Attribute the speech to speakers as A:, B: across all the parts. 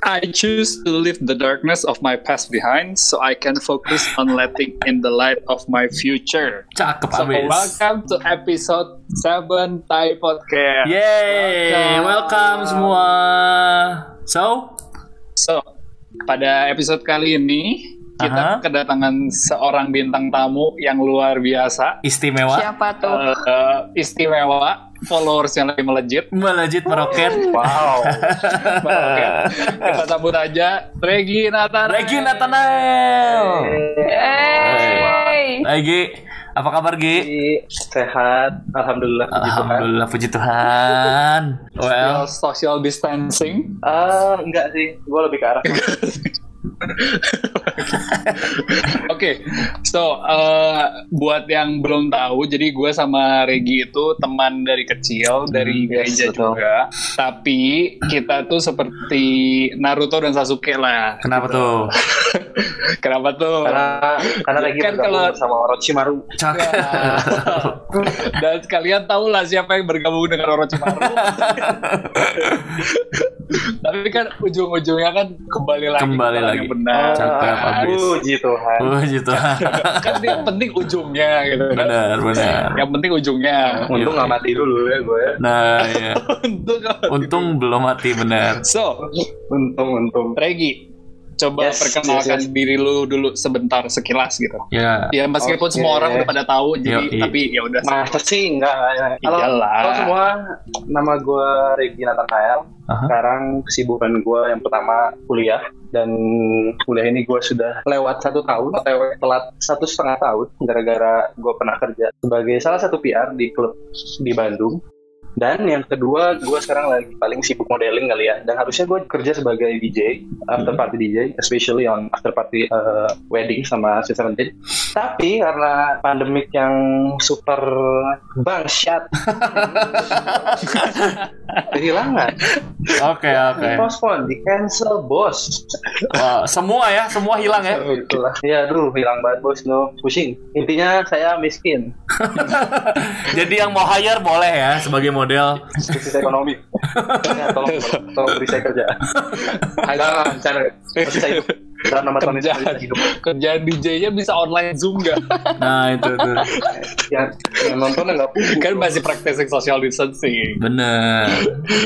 A: I choose to leave the darkness of my past behind so I can focus on letting in the light of my future.
B: Cakep
A: So
B: abis.
A: welcome to episode 7 Thai Podcast.
B: Yeay, welcome. semua. So,
A: So, pada episode kali ini
B: Aha.
A: kita kedatangan seorang bintang tamu yang luar biasa,
B: istimewa,
C: Siapa tuh?
A: eh, istimewa, followersnya lagi melejit.
B: melejit meroket.
A: Wow. Oke. Kita sambut aja Regina Nathan.
B: Regina Nathanael.
C: Hey.
B: Hai Gi, apa kabar
D: Iya, gitu
B: Gi?
D: sehat alhamdulillah puji Tuhan.
B: Alhamdulillah puji Tuhan. Well,
A: social distancing.
D: ah enggak sih gue lebih ke arah
A: Oke, so eh, buat yang belum tahu, jadi gue sama Regi itu teman dari kecil
B: Hmm,
A: dari gereja
D: yes, betul.
A: juga. Tapi kita tuh seperti Naruto dan Sasuke lah.
B: kenapa tuh?
A: Kenapa tuh?
D: karena karena lagi
A: Kan
D: bergabung
A: kalau-
D: sama Orochimaru
B: Cakep.
A: Iya. dan kalian tahu lah siapa yang bergabung dengan Orochimaru. Tapi kan ujung-ujungnya kan kembali lagi ke
B: Kembali
A: jalan
B: lagi.
A: yang benar.
B: Cakep abis.
D: Eh,
B: Iya,
D: puji Tuhan
B: Puji Tuhan.
A: Kan yang penting ujungnya gitu. kan.
B: Benar, benar.
A: Yang penting ujungnya.
D: untung
B: iya.
D: nggak mati dulu ya gue
B: Nah, iya.
A: Untuk
B: Untung belum mati benar.
A: So,
D: untung untung
A: Regi, coba
D: Yes,
A: perkenalkan
D: yes, yes.
A: diri lu dulu sebentar sekilas gitu.
B: Ya.
A: Ya meskipun
D: Oke.
A: semua orang udah pada tahu, jadi
B: Yoi.
A: tapi ya udah.
D: masa sih enggak Ya, enggak. halo
A: Iyalah.
D: halo semua nama gue Regina Tanael
B: Aha.
D: sekarang kesibukan gue yang pertama kuliah dan kuliah ini gue sudah lewat satu tahun lewat telat satu setengah tahun gara-gara gue pernah kerja sebagai salah satu PR di klub di Bandung dan yang kedua gue sekarang lagi paling sibuk modeling kali ya dan harusnya gue kerja sebagai DJ after party DJ especially on after party uh, wedding sama Sweet Seventeen tapi karena pandemik yang super bangsat kehilangan
B: Oke, oke.
A: Eh.
D: dipospon di cancel bos
B: Wah, semua ya, semua hilang ya.
D: Itulah. ya aduh hilang banget bos no pusing intinya saya miskin
B: Jadi yang mau hire boleh ya sebagai model.
D: krisis ekonomi ya, tolong, tolong tolong beri saya kerja jangan jangan masih saya hidup dalam nama Tuhan Yesus
A: Kerjaan,
D: masih saya hidup
A: kerjaan DJ-nya bisa online Zoom nggak?
B: Nah, itu tuh.
D: yang, Ya, yang nonton nggak punggu
A: kan masih praktesin social distancing.
B: Bener.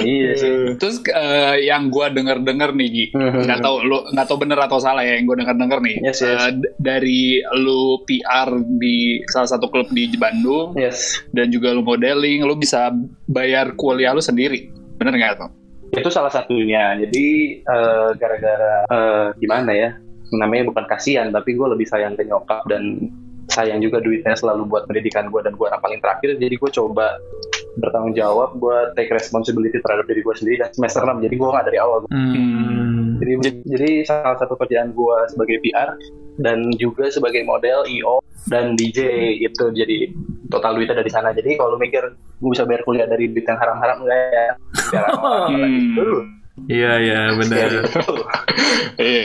D: iya sih
A: Terus eh, yang gua denger-denger nih, Gi,
D: Mhm.
A: nggak tahu lu nggak tahu bener atau salah ya yang gua denger-denger nih.
D: Yes, yes.
A: Eh, d- dari lu PR di salah satu klub di Bandung
D: yes
A: dan juga lu modeling, lu bisa bayar kuliah lu sendiri. Bener nggak tuh?
D: itu salah satunya jadi eh, gara-gara eh, gimana ya namanya bukan kasihan tapi gue lebih sayang ke nyokap dan sayang juga duitnya selalu buat pendidikan gue dan gue anak paling terakhir jadi gue coba bertanggung jawab gue take responsibility terhadap diri gue sendiri dan semester 6 jadi gue nggak dari awal
B: Hmm.
D: jadi, jadi salah satu kerjaan gue sebagai PR dan juga sebagai model IO dan DJ itu jadi total duitnya dari sana jadi kalau lu mikir gue bisa bayar kuliah dari duit yang haram-haram enggak ya Biar orang-orang gitu. lagi
A: Hmm.
D: dulu.
B: Iya, iya, bener.
A: Iya.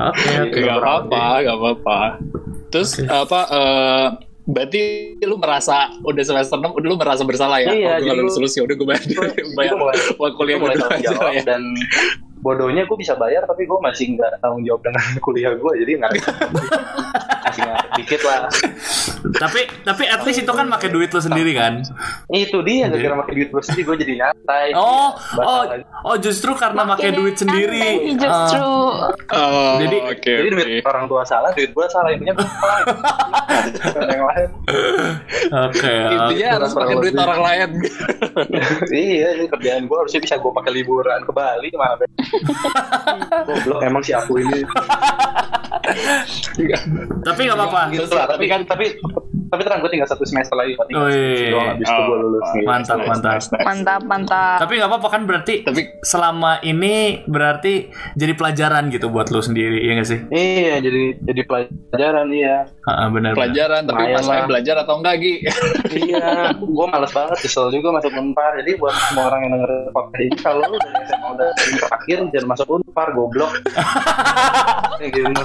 B: Oke, oke.
A: Gak apa-apa,
D: iya.
A: gak apa-apa. Terus apa? eh berarti lu merasa udah semester 6 udah lu merasa bersalah ya? oh,
D: Iya,
A: gue
D: jadi
A: lulus
D: lu-
A: lulus ya udah gue bayar bayar
D: Gua mulai-
A: uang kuliah
D: Gue Iya.
A: gue
D: mulai
A: dulu
D: tanggung
A: aja
D: jawab
A: lah ya.
D: dan bodohnya gue bisa bayar tapi gue masih nggak tanggung jawab dengan kuliah gue jadi nggak masih nggak dikit lah
B: Tapi tapi at least itu kan pakai duit lo sendiri kan?
D: itu dia gara-gara pakai duit terus jadi gue jadi nyantai
B: Oh,
D: Batal
B: oh,
D: lagi.
B: oh justru karena pakai duit sendiri.
C: Santai, Justru
A: Oh,
B: Jadi-
A: oke,
D: jadi
A: oke.
D: duit orang tua salah duit gue salah intinya gue salah yang lain
B: Ah, Oke. oke.
A: Intinya harus pakai duit orang lain.
D: iya ini kerjaan gue harusnya bisa gue pakai liburan ke Bali malah goblok emang si aku ini
A: Iya.
B: Tapi nggak apa-apa.
D: gitu lah tapi kan tapi tapi terang gue tinggal satu semester lagi kok tinggal
B: Wih.
D: satu semester doang habis itu
A: iya.
D: gue lulus
A: Oh,
D: nih
B: Mantap, mantap.
C: mantap mantap.
B: Tapi nggak apa-apa kan berarti
A: Tapi
B: selama ini berarti jadi pelajaran gitu buat lo sendiri, iya nggak sih?
D: Iya, jadi jadi pelajaran iya.
B: Ah, ah, benar. benar.
A: pelajaran, tapi
D: Lumayan
A: masalahnya
D: lah.
A: belajar atau enggak Gi?
D: iya, gue males banget kesel juga masuk Unpar. Jadi buat semua orang yang denger podcast ini kalau lu dari SMA udah yang terakhir jangan masuk Unpar goblok. Kayak gitu.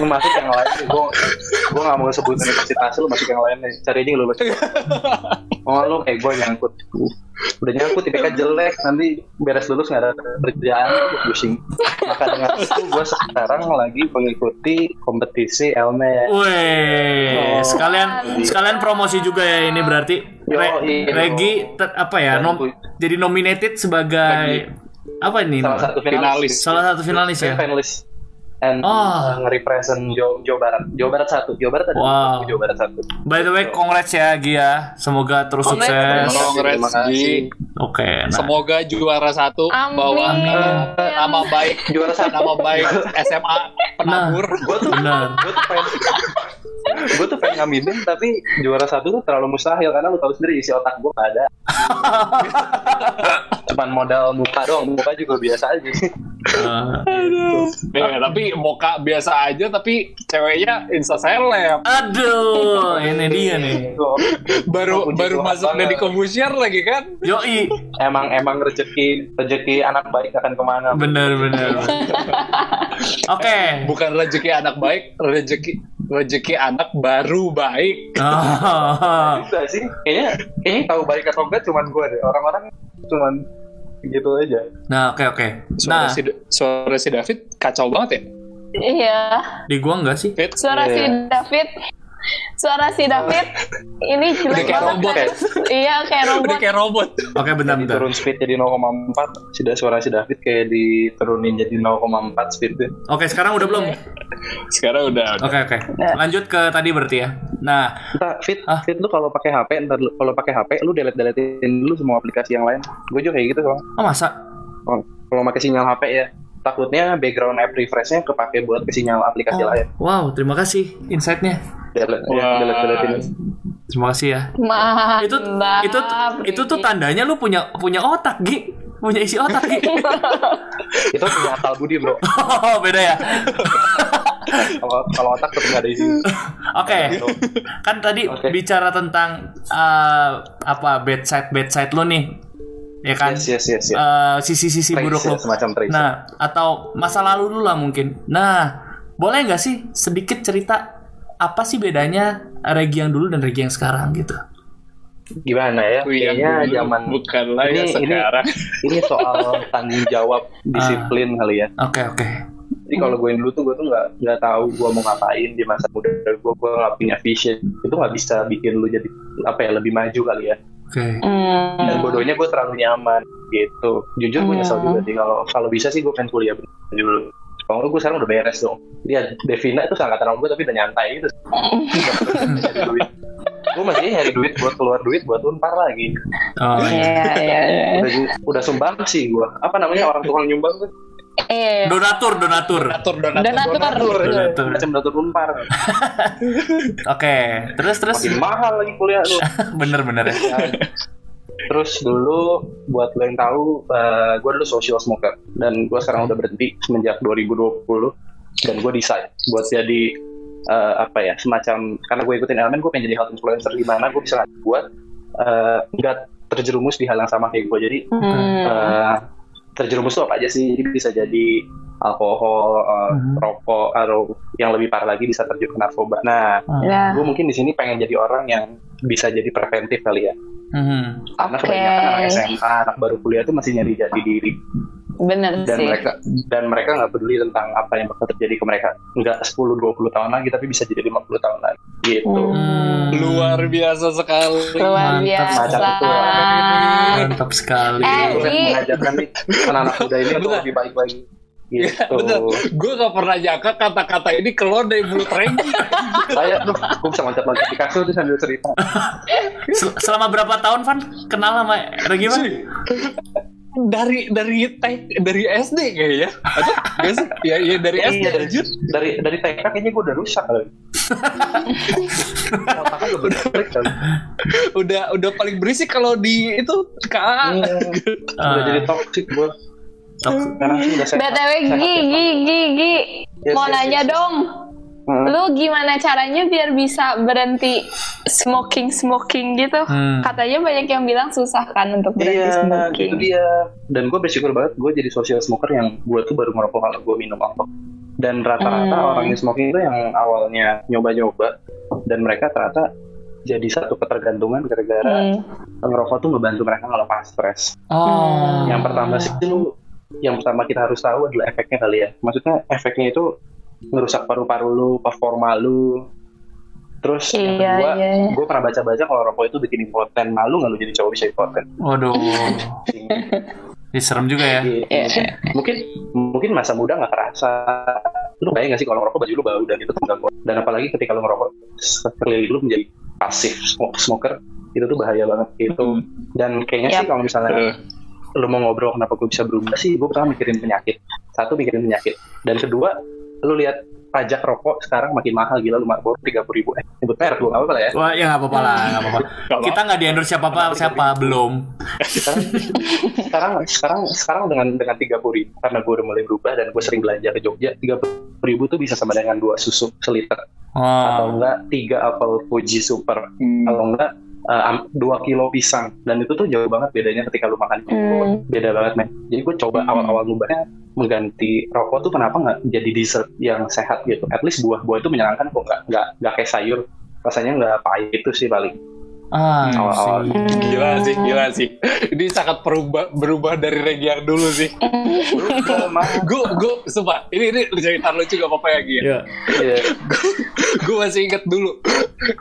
D: lu masuk yang lain gue gue nggak mau sebut universitas lu masuk yang lain deh. cari aja yang lulus oh lu kayak gue nyangkut udah nyangkut IPK jelek nanti beres lulus nggak ada kerjaan pusing maka dengan itu gue sekarang lagi mengikuti kompetisi Elme
B: Wih,
D: Oh.
B: sekalian sekalian promosi juga ya ini berarti Re-
D: Yoi.
B: Regi ter- apa ya nom- jadi nominated sebagai apa ini
D: salah satu finalis
A: Finalis.
B: salah satu finalis ya
D: finalis and uh,
B: Oh.
D: nge-represent Jawa, Jawa Barat Jawa Barat satu Jawa Barat ada
B: Wow.
D: satu, Jawa Barat satu
B: by the way congrats ya Gia semoga terus
C: Congrats,
B: sukses
C: Gia.
A: Congrats,
D: Terima kasih.
A: Ji.
B: oke nah.
A: Semoga juara satu
C: Amin.
A: bawa eh, nama baik
D: Juara satu.
A: nama baik SMA penabur.
B: Nah.
D: gue tuh
B: Benar.
D: gue tuh pengen gue tuh pengen ngaminin tapi juara satu tuh terlalu mustahil karena lu tahu sendiri isi otak gue gak ada cuman modal muka doang muka juga biasa aja
B: Eh,
A: Ya, tapi moka biasa aja tapi ceweknya insta seleb.
B: aduh ini dia nih
A: Baru
D: Puji
A: baru
D: Tuhan
A: masuk
D: banget.
A: dari komusier lagi kan?
B: Yoi
D: emang emang rezeki rezeki anak baik akan kemana
B: bener bener oke
A: Bukan rezeki anak baik, rezeki rezeki anak baru baik.
B: Oh.
D: Enggak sih kayaknya kayaknya tahu baik atau enggak cuman gue deh orang-orang cuman gitu aja
B: nah oke oke
A: Suara
B: nah
A: si suara si David kacau banget ya.
C: Iya.
B: di gua enggak sih
A: Fit.
C: Suara si
D: Iya.
C: David. Suara si David ini
A: Udah
C: jelek
A: kayak
C: banget.
A: robot
D: ya?
C: guys. Iya kayak
A: Udah
C: robot.
A: kayak robot.
B: oke bentar bentar
D: turun speed jadi 0,4 sudah suara si David kayak diturunin jadi 0,4 speednya
B: oke sekarang udah belum
A: Sekarang udah.
B: Oke oke.
D: Nah.
B: Lanjut ke tadi berarti ya. Nah,
D: Ntar, fit,
B: Ah.
D: fit lu kalau pakai HP, ntar lu- kalau pakai HP lu delete deletein dulu semua aplikasi yang lain. Gue juga kayak gitu soalnya.
B: oh masa?
D: Kalau- Kalau pakai sinyal HP ya, takutnya background app refreshnya kepake buat ke sinyal aplikasi
B: Oh,
D: lain.
B: wow, terima kasih insight-nya.
D: Delete, ya,
A: Wah.
D: delete deletein.
B: Terima kasih ya.
C: Mantap.
B: Itu itu itu tuh tandanya lu punya punya otak, Gi. Punya isi otak, Gi.
D: Itu punya akal budi bro.
B: Oh, beda ya.
D: Kalau kalau otak tetap nggak ada isi.
B: Iya Oke. Kan tadi
D: Oke.
B: bicara tentang eh, apa bedside bedside lu nih. Ya kan?
D: Yes yes yes. yes.
B: Eh, sisi-sisi
D: Trace,
B: buruk lu.
D: semacam trace.
B: Nah, atau masa lalu lu lah mungkin. Nah, boleh nggak sih sedikit cerita apa sih bedanya regi yang dulu dan regi yang sekarang gitu?
D: Gimana ya?
A: Aku yang
D: Kayaknya
A: dulu,
D: zaman
A: bukanlah yang
D: ini- ini-
A: sekarang.
D: ini soal tanggung jawab, disiplin kali ya.
B: Oke oke.
D: Jadi kalau gue yang dulu tuh gue tuh nggak nggak tahu gue mau ngapain di masa muda gue gue nggak punya vision itu nggak bisa bikin lu jadi apa ya lebih maju kali ya
B: Oke.
D: dan
C: Hmm.
D: bodohnya gue terlalu nyaman gitu jujur gue nyesel juga sih kalau kalau bisa sih gue pengen kuliah bener dulu kalau enggak gue sekarang udah beres dong ya Devina itu sangat terang gue tapi udah nyantai gitu Nyari duit. gue masih nyari duit buat keluar duit buat unpar lagi
B: Oh,
C: Iya iya iya.
D: udah, udah sumbang sih gue apa namanya orang tukang nyumbang tuh
C: Iya.
B: Donatur donatur.
A: Donatur donatur.
C: Donatur.
B: Donatur.
D: macam donatur unpar
B: Oke. Terus terus.
D: makin mahal lagi kuliah lu
B: bener bener ya.
D: Terus dulu buat lo yang tahu, gue dulu social smoker dan gue sekarang udah berhenti semenjak 2020 dan gue decide buat jadi eh, apa ya semacam karena gue ikutin elemen gue pengen jadi health influencer di mana gue bisa buat eh, nggak terjerumus di hal yang sama kayak gue jadi
C: Hmm.
D: eh, terjerumus tuh apa aja sih Jadi bisa jadi alkohol, eh,
B: Mhm.
D: rokok, atau yang lebih parah lagi bisa terjun ke narkoba. Nah,
C: Ya.
D: gue mungkin di sini pengen jadi orang yang bisa jadi preventif kali ya.
B: Mhm.
D: Karena
C: Oke.
D: kebanyakan anak SMA, anak baru kuliah itu masih nyari jati diri
C: Bener
D: dan
C: sih.
D: mereka dan mereka nggak peduli tentang apa yang bakal terjadi ke mereka. Nggak 10-20 tahun lagi, tapi bisa jadi 50 tahun lagi. Gitu.
B: Hmm.
A: Luar biasa sekali.
C: Luar
B: Mantap,
C: biasa.
D: mantap itu ya.
B: Mantap sekali.
C: Eh,
D: Gue
C: Ji.
D: mengajarkan nih anak-anak muda ini untuk
A: Bener.
D: lebih baik lagi.
A: Iya,
D: Gitu.
A: bener. Gue gak pernah nyangka kata-kata ini keluar dari mulut Regi.
D: Saya tuh, gue bisa loncat-loncat di kasur tuh sambil cerita.
B: Sel- Selama berapa tahun Van kenal sama Regi Van?
A: dari dari teh dari SD kayaknya. Atau gak sih? Ya, ya dari SD
D: Iya, dari,
A: lanjut.
D: dari, dari TK kayaknya gue udah rusak kali. Otaknya udah berbalik kali.
A: Udah udah paling berisik kalau di itu KA.
D: Iya.
B: Ah.
D: Udah jadi toxic gue.
B: Eh, Tok-
D: Karena sih udah sehat.
C: BTW Gi, Gi, Gi,
D: Iya,
C: Gi.
D: Yes,
C: Mau
D: yes,
C: nanya
D: yes, yes.
C: dong,
D: iya. Hmm.
C: lu gimana caranya biar bisa berhenti smoking-smoking gitu?
B: Hmm.
C: Katanya banyak yang bilang susah kan untuk berhenti
D: Iya,
C: smoking.
D: gitu dia. Dan gue bersyukur banget gue jadi social smoker yang gue tuh baru merokok kalau gue minum alkohol. dan rata-rata
C: Hmm.
D: orang yang smoking itu yang awalnya nyoba-nyoba dan mereka ternyata jadi satu ketergantungan gara-gara
C: Hmm.
D: ngerokok tuh ngebantu mereka ngelepas stres.
B: Oh.
C: Ah.
D: Yang pertama sih lu- yang pertama kita harus tahu adalah efeknya kali ya. Maksudnya efeknya itu ngerusak paru-paru lu, performa lu. Terus yang
C: Iya,
D: kedua,
C: iya, iya.
D: gue pernah baca-baca kalau rokok itu bikin impoten. Malu nggak lu jadi cowok bisa impoten?
B: Waduh. Ini serem juga ya.
C: Iya.
D: mungkin mungkin masa muda nggak kerasa. Lu bayang nggak sih kalau ngerokok baju lu bau dan itu tuh mengganggu. Dan apalagi ketika lu ngerokok sekeliling lu menjadi pasif smoke- smoker itu tuh bahaya banget itu. Dan kayaknya sih
C: Yap.
D: kalau misalnya
A: Eh,
D: lu mau ngobrol kenapa gue bisa berubah sih gue pertama mikirin penyakit satu mikirin penyakit dan kedua lu lihat pajak rokok sekarang makin mahal gila lu Marlboro tiga puluh ribu eh nyebut merek gue apa lah ya
B: Wah, ya nggak apa-apa lah, nggak apa-apa.
A: Nggak
B: Kita nggak di-endorse siapa-apa, siapa belum.
D: sekarang sekarang sekarang sekarang dengan dengan tiga puluh ribu karena gue udah mulai berubah dan gue sering belanja ke Jogja tiga puluh ribu tuh bisa sama dengan dua susu seliter atau
B: Oh.
D: enggak tiga apel Fuji Super
A: Hmm.
D: kalau enggak eh, am- dua kilo pisang dan itu tuh jauh banget bedanya ketika lu makan
C: Hmm.
D: beda banget men jadi gue coba
A: Hmm.
D: awal-awal ngubahnya mengganti rokok tuh kenapa nggak jadi dessert yang sehat gitu at least buah-buah itu menyenangkan kok nggak nggak nggak kayak sayur rasanya nggak pahit itu sih paling
B: Ah,
D: Hmm. Awal-awal.
B: sih.
A: Gila sih, gila sih. Ini sangat berubah berubah dari regi yang dulu sih. Gue, gue, sumpah, ini, ini cerita lucu gak apa-apa ya, Gi, ya?
B: Ya.
D: Iya.
A: gue masih inget dulu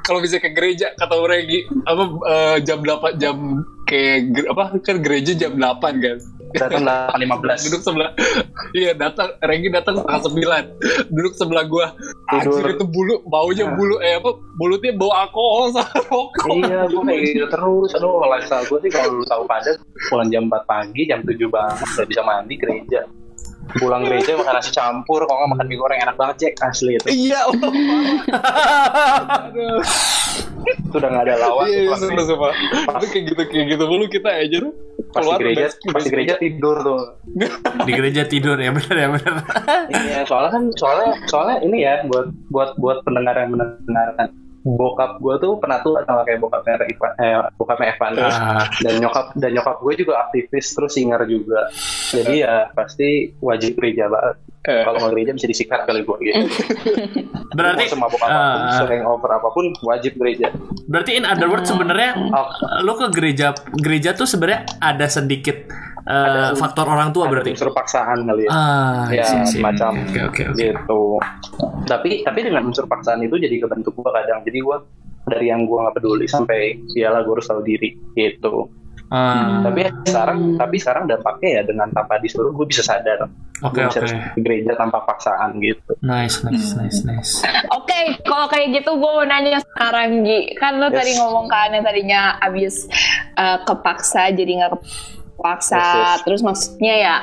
A: kalau bisa ke gereja kata Regi apa eh, jam 8 jam kayak ger- apa kan gereja jam 8 kan
D: datang delapan lima belas
A: duduk sebelah iya datang Regi datang setengah sembilan duduk sebelah gue
D: Tidur.
A: anjir itu bulu baunya bulu eh apa mulutnya bau alkohol sama rokok
D: iya gue kayak gitu terus aduh lifestyle gue sih kalau lu tahu padat pulang jam 4 pagi jam 7 bangun nggak bisa mandi gereja pulang gereja makan nasi campur kalau nggak makan mie goreng enak banget cek asli itu
A: iya Allah. Aduh.
D: itu udah nggak ada lawan
A: iya iya,
D: pulang
A: seru
D: gereja.
A: sumpah itu kayak gitu kayak gitu mulu kita aja tuh
D: pas di gereja
A: basket,
D: pas di gereja tidur tuh
B: Di gereja tidur ya, benar ya, benar.
D: Iya, soalnya kan soalnya soalnya ini ya buat buat buat pendengar yang mendengarkan bokap gue tuh pernah tua sama kayak bokapnya Ivan, eh, bokapnya Evan
B: Ah.
D: dan nyokap dan nyokap gue juga aktivis terus singer juga jadi ya pasti wajib gereja banget
A: Eh.
D: kalau nggak gereja bisa disikat kali gue gitu
B: Berarti
D: Mau sama bokap apapun
B: ah,
D: sering over apapun wajib gereja
B: berarti in other words sebenarnya
D: oh,
B: lo ke gereja gereja tuh sebenarnya ada sedikit eh, faktor orang tua
D: ada
B: berarti.
D: unsur paksaan kali ya
B: Ah,
D: Ya,
B: iya, iya.
D: macam
B: Oke, oke, oke.
D: gitu. Tapi tapi dengan unsur paksaan itu jadi kebentuk gua kadang. Jadi gua dari yang gua nggak peduli sampai iyalah gua harus tahu diri gitu.
B: Ah,
D: Tapi ya sekarang tapi sekarang dampaknya ya dengan tanpa disuruh gua bisa sadar.
B: Oke,
D: Gua bisa
B: oke.
D: ke gereja tanpa paksaan gitu.
B: Nice, nice, nice, nice.
C: Oke, kalau kayak gitu gue mau nanya sekarang Gi. Kan lo
D: Yes.
C: tadi ngomong kan yang tadinya abis eh, kepaksa jadi nggak kepaksa.
D: Yes, yes.
C: Terus maksudnya ya,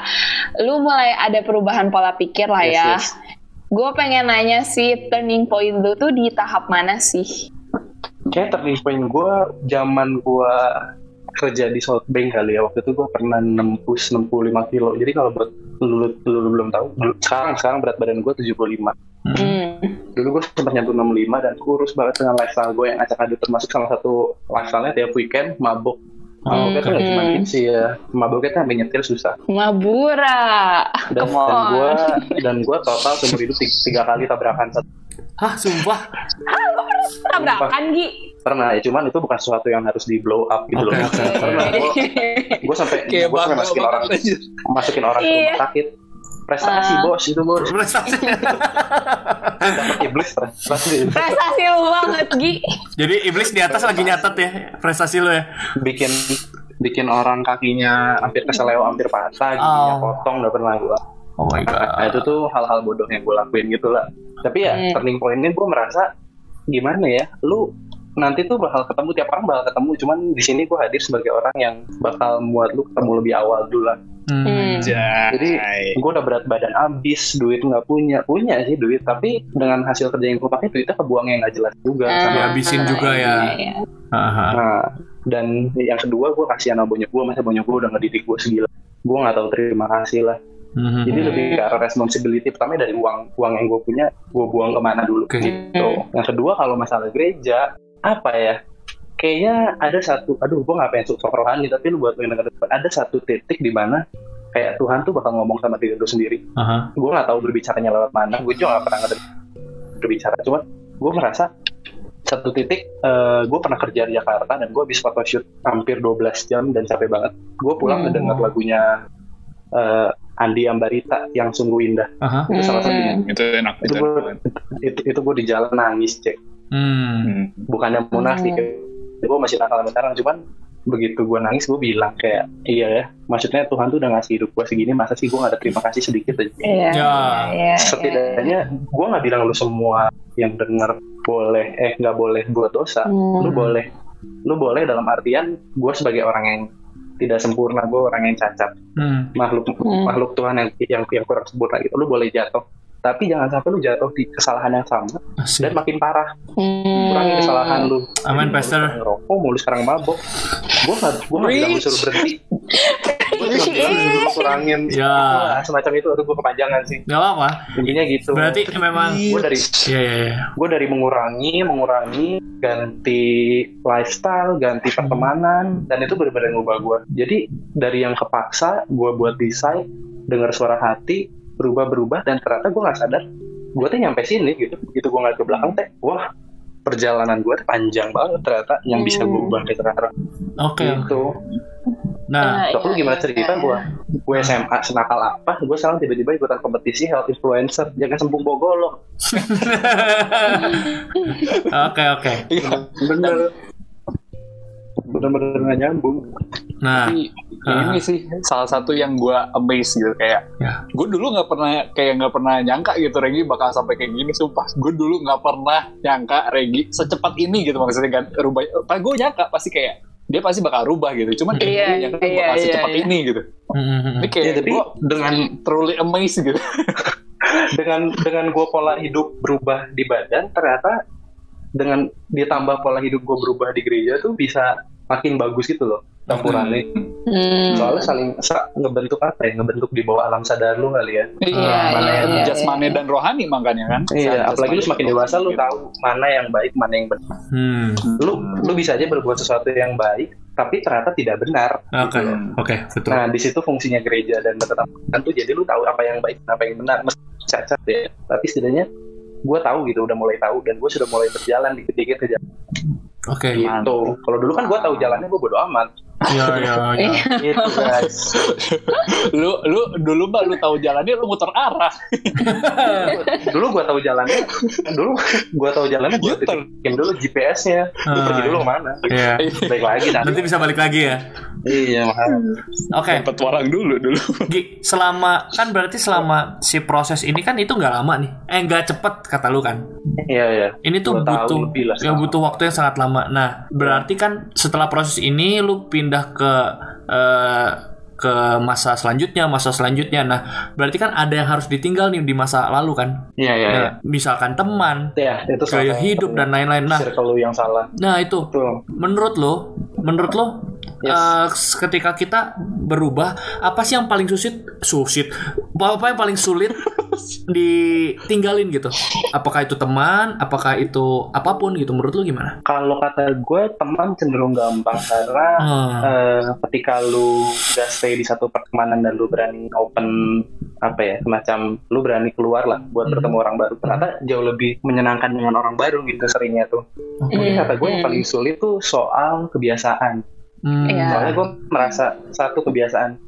C: lu mulai ada perubahan pola pikir
B: Ah,
C: lah
D: Yes,
C: ya.
D: yes.
C: Gue pengen nanya sih turning point lu tuh di tahap mana sih?
D: Kayak turning point gua zaman gua kerja di South Bank kali ya waktu itu gua pernah nembus 65 kilo jadi kalau buat lu, lu, lu belum tahu sekarang sekarang berat badan gua 75
C: Hmm.
D: dulu gue sempat nyentuh 65 dan kurus banget dengan lifestyle gue yang acak adut termasuk salah satu lifestyle-nya tiap weekend mabuk mabuknya tuh gak cuma
C: Hmm.
D: tipsi ya mabuknya tuh sampai nyetir susah
C: Mabura.
D: dan,
C: Come
D: dan
C: on.
D: gue dan gue total seumur hidup tiga, tiga kali tabrakan satu
B: Hah, sumpah.
C: Tabrakan Gi.
D: pernah ya cuman itu bukan sesuatu yang harus di blow up gitu
B: Oke,
D: loh
B: oke, oke.
D: pernah gue gue sampai gue
A: kayak bangga
D: sampai masukin orang
A: banget anjir.
D: masukin orang ke rumah
C: Iya.
D: sakit prestasi
C: Ah.
D: bos itu bos
B: Prestasi.
D: dapet iblis prestasi
C: Prestasi lu banget Gi.
B: Jadi iblis di atas lagi nyatet ya prestasi lo ya.
D: bikin bikin orang kakinya hampir keselew hampir patah giginya
B: Oh.
D: potong udah pernah gue
B: Oh my
D: Nah, itu tuh hal-hal bodoh yang gue lakuin gitu lah. Tapi ya,
C: Hmm.
D: turning point-nya gue merasa gimana ya, lu nanti tuh bakal ketemu tiap orang bakal ketemu, cuman di sini gue hadir sebagai orang yang bakal membuat lu ketemu lebih awal dulu lah.
B: Hmm.
D: Jadi gue udah berat badan abis, duit nggak punya, punya sih duit, tapi dengan hasil kerja yang gue pakai duitnya kebuang yang nggak jelas juga.
B: Ah.
D: sama-
B: Dihabisin juga ya.
C: Ah, Iya.
B: Aha.
D: Nah, dan yang kedua gue kasihan sama bonyok gue, masa bonyok gue udah ngedidik gue segila. Gue nggak tahu terima kasih lah.
B: Mhm.
D: Jadi lebih ke arah responsibility pertama dari uang uang yang gue punya gue buang kemana dulu.
B: Oke.
D: Gitu. Yang kedua kalau masalah gereja apa ya? Kayaknya ada satu, aduh gue nggak pengen sok rohani tapi lu buat lu yang denger depan ada satu titik di mana kayak Tuhan tuh bakal ngomong sama diri lu sendiri
B: Aha.
D: gue nggak tahu berbicaranya lewat mana gue juga nggak pernah ngedenger berbicara cuman gue merasa satu titik gue pernah kerja di Jakarta dan gue habis photoshoot hampir 12 jam dan capek banget gue pulang
B: Hmm.
D: ngedenger lagunya eh, Andi Ambarita yang sungguh indah
B: Aha.
D: Itu salah satunya.
C: Hmm.
A: itu enak
D: itu
A: itu
D: gue
A: enak.
D: itu, itu gue di jalan nangis cek
B: Hmm.
A: Hmm.
D: bukannya munafik gue masih nakal sekarang cuman begitu gue nangis gue bilang kayak iya ya maksudnya Tuhan tuh udah ngasih hidup gue segini masa sih gue gak ada terima kasih sedikit aja
C: Iya.
B: Ya.
C: iya, iya.
D: setidaknya gue nggak bilang lu semua yang denger boleh eh nggak boleh buat dosa
C: Hmm.
D: lu boleh lu boleh dalam artian gue sebagai orang yang tidak sempurna gue orang yang cacat
B: Hmm.
D: makhluk
C: Hmm.
D: makhluk Tuhan yang yang yang kurang sempurna gitu lu boleh jatuh tapi jangan sampai lu jatuh di kesalahan yang sama
B: Asik.
D: dan makin parah
C: Hmm.
D: kurangi kesalahan lu
B: Amin,
D: Lu
B: Pastor.
D: sekarang ngerokok mau lu sekarang mabok gue nggak gue nggak bilang lu suruh berhenti gue cuma bilang lu suruh kurangin
B: Ya.
D: Wah, semacam itu aduh gue kepanjangan sih
B: Gak apa-apa.
D: intinya gitu
B: Berarti memang.
D: gue dari
B: Iya iya iya.
D: gue dari mengurangi mengurangi ganti lifestyle ganti
B: Hmm.
D: pertemanan dan itu benar-benar ngubah gue jadi dari yang kepaksa gue buat desain dengar suara hati berubah-berubah dan ternyata gue nggak sadar gue tuh nyampe sini gitu gitu gue ngeliat ke belakang teh wah perjalanan gue panjang banget ternyata yang bisa gue ubah kayak sekarang
B: Oke.
D: gitu
B: Nah.
D: Dok, lu gimana cerita gue? Gue SMA senakal apa? Gue sekarang tiba-tiba ikutan kompetisi health influencer. Jangan sembung bogolok.
B: Oke oke.
A: Iya.
D: Bener. Bener-bener nggak nyambung.
B: Nah.
D: Iya.
A: Tapi ini sih salah satu yang gue amazed gitu kayak
B: Ya.
A: gue dulu nggak pernah kayak nggak pernah nyangka gitu Regi bakal sampai kayak gini sumpah gue dulu nggak pernah nyangka Regi secepat ini gitu maksudnya kan rubah pas gue nyangka pasti kayak dia pasti bakal rubah gitu cuman kayak
C: Iya,
A: gue nyangka
C: iya,
A: bakal
C: iya,
A: secepat
C: iya.
A: ini gitu
B: Hmm, hmm,
A: ini
B: hmm.
A: kayak
D: Iya, tapi-
A: gue dengan truly amazed gitu
D: Dengan dengan gue pola hidup berubah di badan, ternyata dengan ditambah pola hidup gue berubah di gereja tuh bisa makin bagus gitu loh campurannya.
C: Hmm.
D: Soalnya saling sa- ngebentuk apa ya? Ngebentuk di bawah alam sadar lu kali ya.
C: Iya,
A: mana
C: iya,
A: yang
C: iya,
A: jasmani dan rohani makanya kan
D: Iya, apalagi lu semakin dewasa lu
A: tahu
D: tahu mana yang baik, mana yang benar.
B: Hmm.
D: Lu lu bisa aja berbuat sesuatu yang baik, tapi ternyata tidak benar.
B: Oke oke betul.
D: Nah, di situ fungsinya gereja dan berteman tuh jadi lu tahu apa yang baik dan apa yang benar. Meski cacat ya, tapi setidaknya gue tahu gitu, udah mulai tahu dan gue sudah mulai berjalan dikit-dikit ke jalan
B: Oke. iya,
D: gitu. Kalau dulu kan gue tahu jalannya gue bodo amat.
B: Ya ya ya.
D: Gitu guys.
A: lu lu dulu mbak lu tahu jalannya lu muter arah
D: dulu gue tahu jalannya, dulu gue tahu jalannya gue
A: Gitu.
D: titipin dulu GPS-nya, lu
B: Ah.
D: pergi dulu kemana?
B: Iya.
D: Baik lagi nanti.
B: Nanti bisa balik lagi ya.
D: Iya, makanya.
B: Oke.
A: dapat warang Eh, dulu dulu
B: Gi, selama kan berarti selama si proses ini kan itu nggak lama nih. Eh nggak cepet kata lu kan.
D: Iya, iya.
B: Ini tuh
D: Dua tahun
B: butuh
D: lebih lah
B: ya
D: selama.
B: butuh waktu yang sangat lama. Nah, berarti kan setelah proses ini lu pindah ke eh, ke masa selanjutnya, masa selanjutnya. Nah, berarti kan ada yang harus ditinggal nih di masa lalu kan.
D: Iya, iya, iya.
B: Nah, misalkan teman,
D: Iya, itu salah
B: gaya
D: satu
B: hidup dan lain-lain. Nah,
D: circle lu yang salah.
B: nah itu
D: Tuh.
B: menurut lo, menurut lo,
D: Yes.
B: eh, ketika kita berubah, apa sih yang paling susit, susit, apa yang paling sulit ditinggalin gitu? Apakah itu teman, apakah itu apapun gitu? Menurut lo gimana?
D: Kalau kata gue teman cenderung gampang karena
C: Ah.
B: Hmm.
D: eh, ketika lu udah stay di satu pertemanan dan lu berani open apa ya semacam lu berani keluar lah
C: Hmm.
D: buat
B: Mhm.
D: bertemu orang baru ternyata jauh lebih menyenangkan dengan orang baru gitu seringnya tuh. Jadi
C: Iya.
D: kata gue yang paling sulit tuh soal kebiasaan.
B: Hmm.
C: Iya.
D: Soalnya gue merasa satu kebiasaan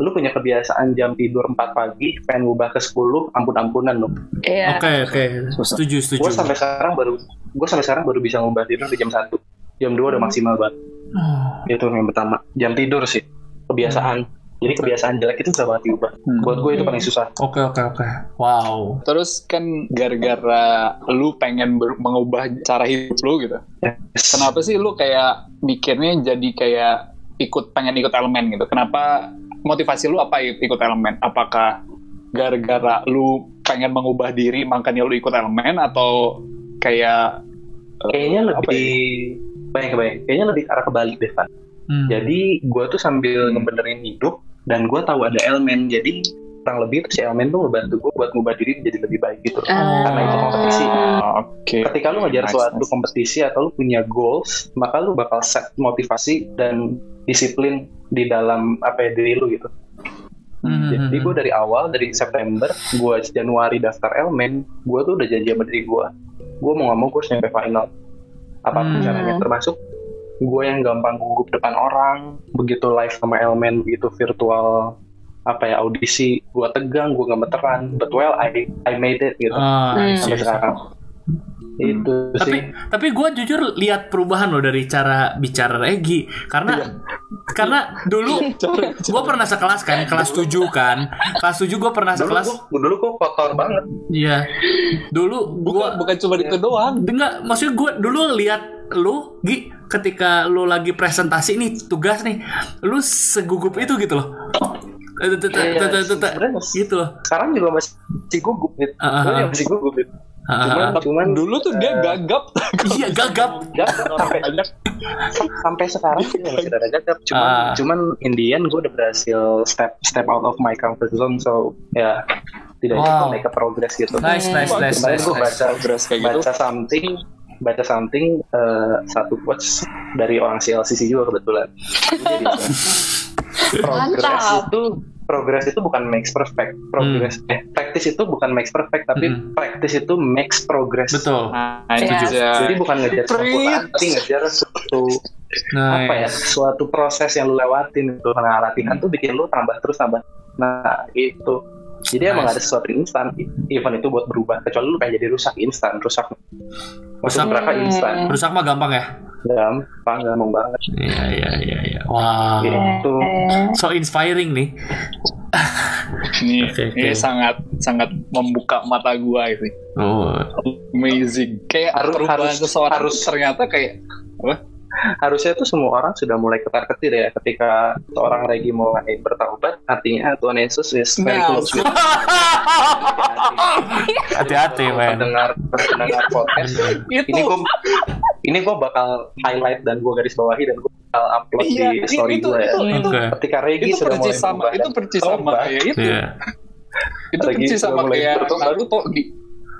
D: lu punya kebiasaan jam tidur 4 pagi pengen ngubah ke 10 ampun-ampunan lu.
C: Iya.
B: Oke oke, setuju setuju.
D: Gue sampai sekarang baru gue sampai sekarang baru bisa ngubah tidur di jam 1. Jam 2
C: Hmm.
D: udah maksimal banget.
B: Oh,
D: itu yang pertama jam tidur sih kebiasaan
A: Hmm.
D: jadi kebiasaan jelek itu bisa banget diubah buat gue itu paling susah
B: Oke oke oke. Wow.
A: Terus kan gara-gara lu pengen ber- mengubah cara hidup lu gitu. Kenapa sih lu kayak mikirnya jadi kayak ikut pengen ikut elemen gitu? Kenapa motivasi lu apa ik- ikut elemen? Apakah gara-gara lu pengen mengubah diri makanya lu ikut elemen atau kayak eh,
D: kayaknya
A: apa
D: lebih
A: ya?
D: banyak banyak kayaknya lebih arah kebalik deh Van
B: Hmm.
D: jadi gue tuh
A: Hmm.
D: sambil ngebenerin hidup dan gue tahu ada elemen jadi kurang lebih tuh si elemen tuh ngebantu gue buat ngubah diri jadi lebih baik gitu
C: Iya,
D: karena itu kompetisi
A: Ah, Oh, Oke.
D: ketika lu ngejar
A: Ah. Nice,
D: suatu
A: nice.
D: kompetisi atau lu punya goals maka lu bakal set motivasi dan disiplin di dalam apa ya diri lu gitu
B: Hmm.
D: Jadi
B: hmm.
D: gue dari awal dari September, gue Januari daftar Elmen, gue tuh udah janji sama diri gue. Gue mau nggak mau gue harus nyampe final. Apapun
B: Hmm.
D: caranya termasuk gue yang gampang gugup depan orang, begitu live sama Elmen, begitu virtual apa ya audisi, gue tegang, gue gemeteran, but well I I made it gitu
B: Ah, I see, I see.
D: sampai sekarang. Itu
B: tapi
D: Gitu sih.
B: tapi gue jujur lihat perubahan loh dari cara bicara Egi karena
D: Iya.
B: karena dulu gue pernah sekelas kan kelas 7 kan kelas 7 gue pernah
D: Dulu
B: sekelas
D: gua- dulu gue kotor banget.
B: iya dulu gue
A: Bukan, bukan cuma itu doang.
B: Enggak, maksudnya gue dulu lihat lu Gi ketika lu lagi presentasi nih tugas nih, lu segugup itu gitu loh. Eh, tet- tet- tet- tet- tet-
D: Iya, sebenarnya-
B: Gitu loh.
D: Sekarang juga masih gugup gitu.
B: Ah, ah,
D: Gue
B: ah.
D: masih gugup gitu.
B: Ah, ah, ah.
D: cuman eh,
A: Dulu tuh dia gagap.
B: Iya gagap.
D: gagap sampai
A: Banyak.
D: sampai sekarang sih
A: Iya.
D: masih ada gagap cuman
B: Ah.
D: cuman Indian gue udah berhasil step step out of my comfort zone so ya tidak
B: Wow.
D: wow. make a progress gitu
B: Nice, nice, nice,
D: Kemarin
B: nice,
D: gue
B: nice.
D: baca
A: Progress kayak gitu.
D: baca something baca something eh, satu quotes dari orang CLCC juga kebetulan Jadi, progress
C: Mantap.
D: itu progress itu bukan makes perfect progress
B: Hmm.
D: eh, practice itu bukan makes perfect tapi
B: Mm-mm.
D: practice itu makes progress
B: Hmm. Betul.
A: Nah,
C: Iya.
A: itu dia.
D: jadi bukan ngejar
A: Prit.
D: sempurnaan tapi ngejar suatu apa ya
B: Nice.
D: suatu proses yang lu lewatin gitu nah latihan tuh bikin lu tambah terus tambah nah itu jadi emang
B: Nice.
D: ada sesuatu instan event itu buat berubah kecuali lu pengen jadi rusak instan rusak
B: Rusak.
D: rusak berapa instan
B: Rusak mah gampang ya.
D: gampang gampang banget
B: Iya, iya, iya, iya. Wow.
D: itu
B: So inspiring nih.
A: Ini,
B: Oke, oke.
A: ini sangat sangat membuka mata gua itu.
B: Oh.
A: Amazing. Kayak
D: Harus-
A: perubahan
D: harus-
A: seseorang
D: harus.
A: ternyata kayak apa?
D: harusnya tuh semua orang sudah mulai ketar ketir ya ketika seorang lagi mulai bertaubat artinya Tuhan Yesus is very
A: Nah,
D: close with
B: Hati-hati, men.
D: pendengar pendengar podcast
A: Itu.
D: ini gue ini gue bakal highlight dan gue garis bawahi dan gue bakal upload
A: Iya,
D: di
A: itu
D: story
A: itu
D: gue ya.
A: itu itu,
B: Oke.
D: ketika Regi
A: itu
D: sudah mulai
A: percis sama
D: berubah
A: itu
D: dan
A: percis sama
D: bertobat.
A: kayak itu.
B: Iya.
A: Itu
D: Apalagi
A: percis sama
D: sudah mulai
A: kayak
D: bertobat.
A: Naruto di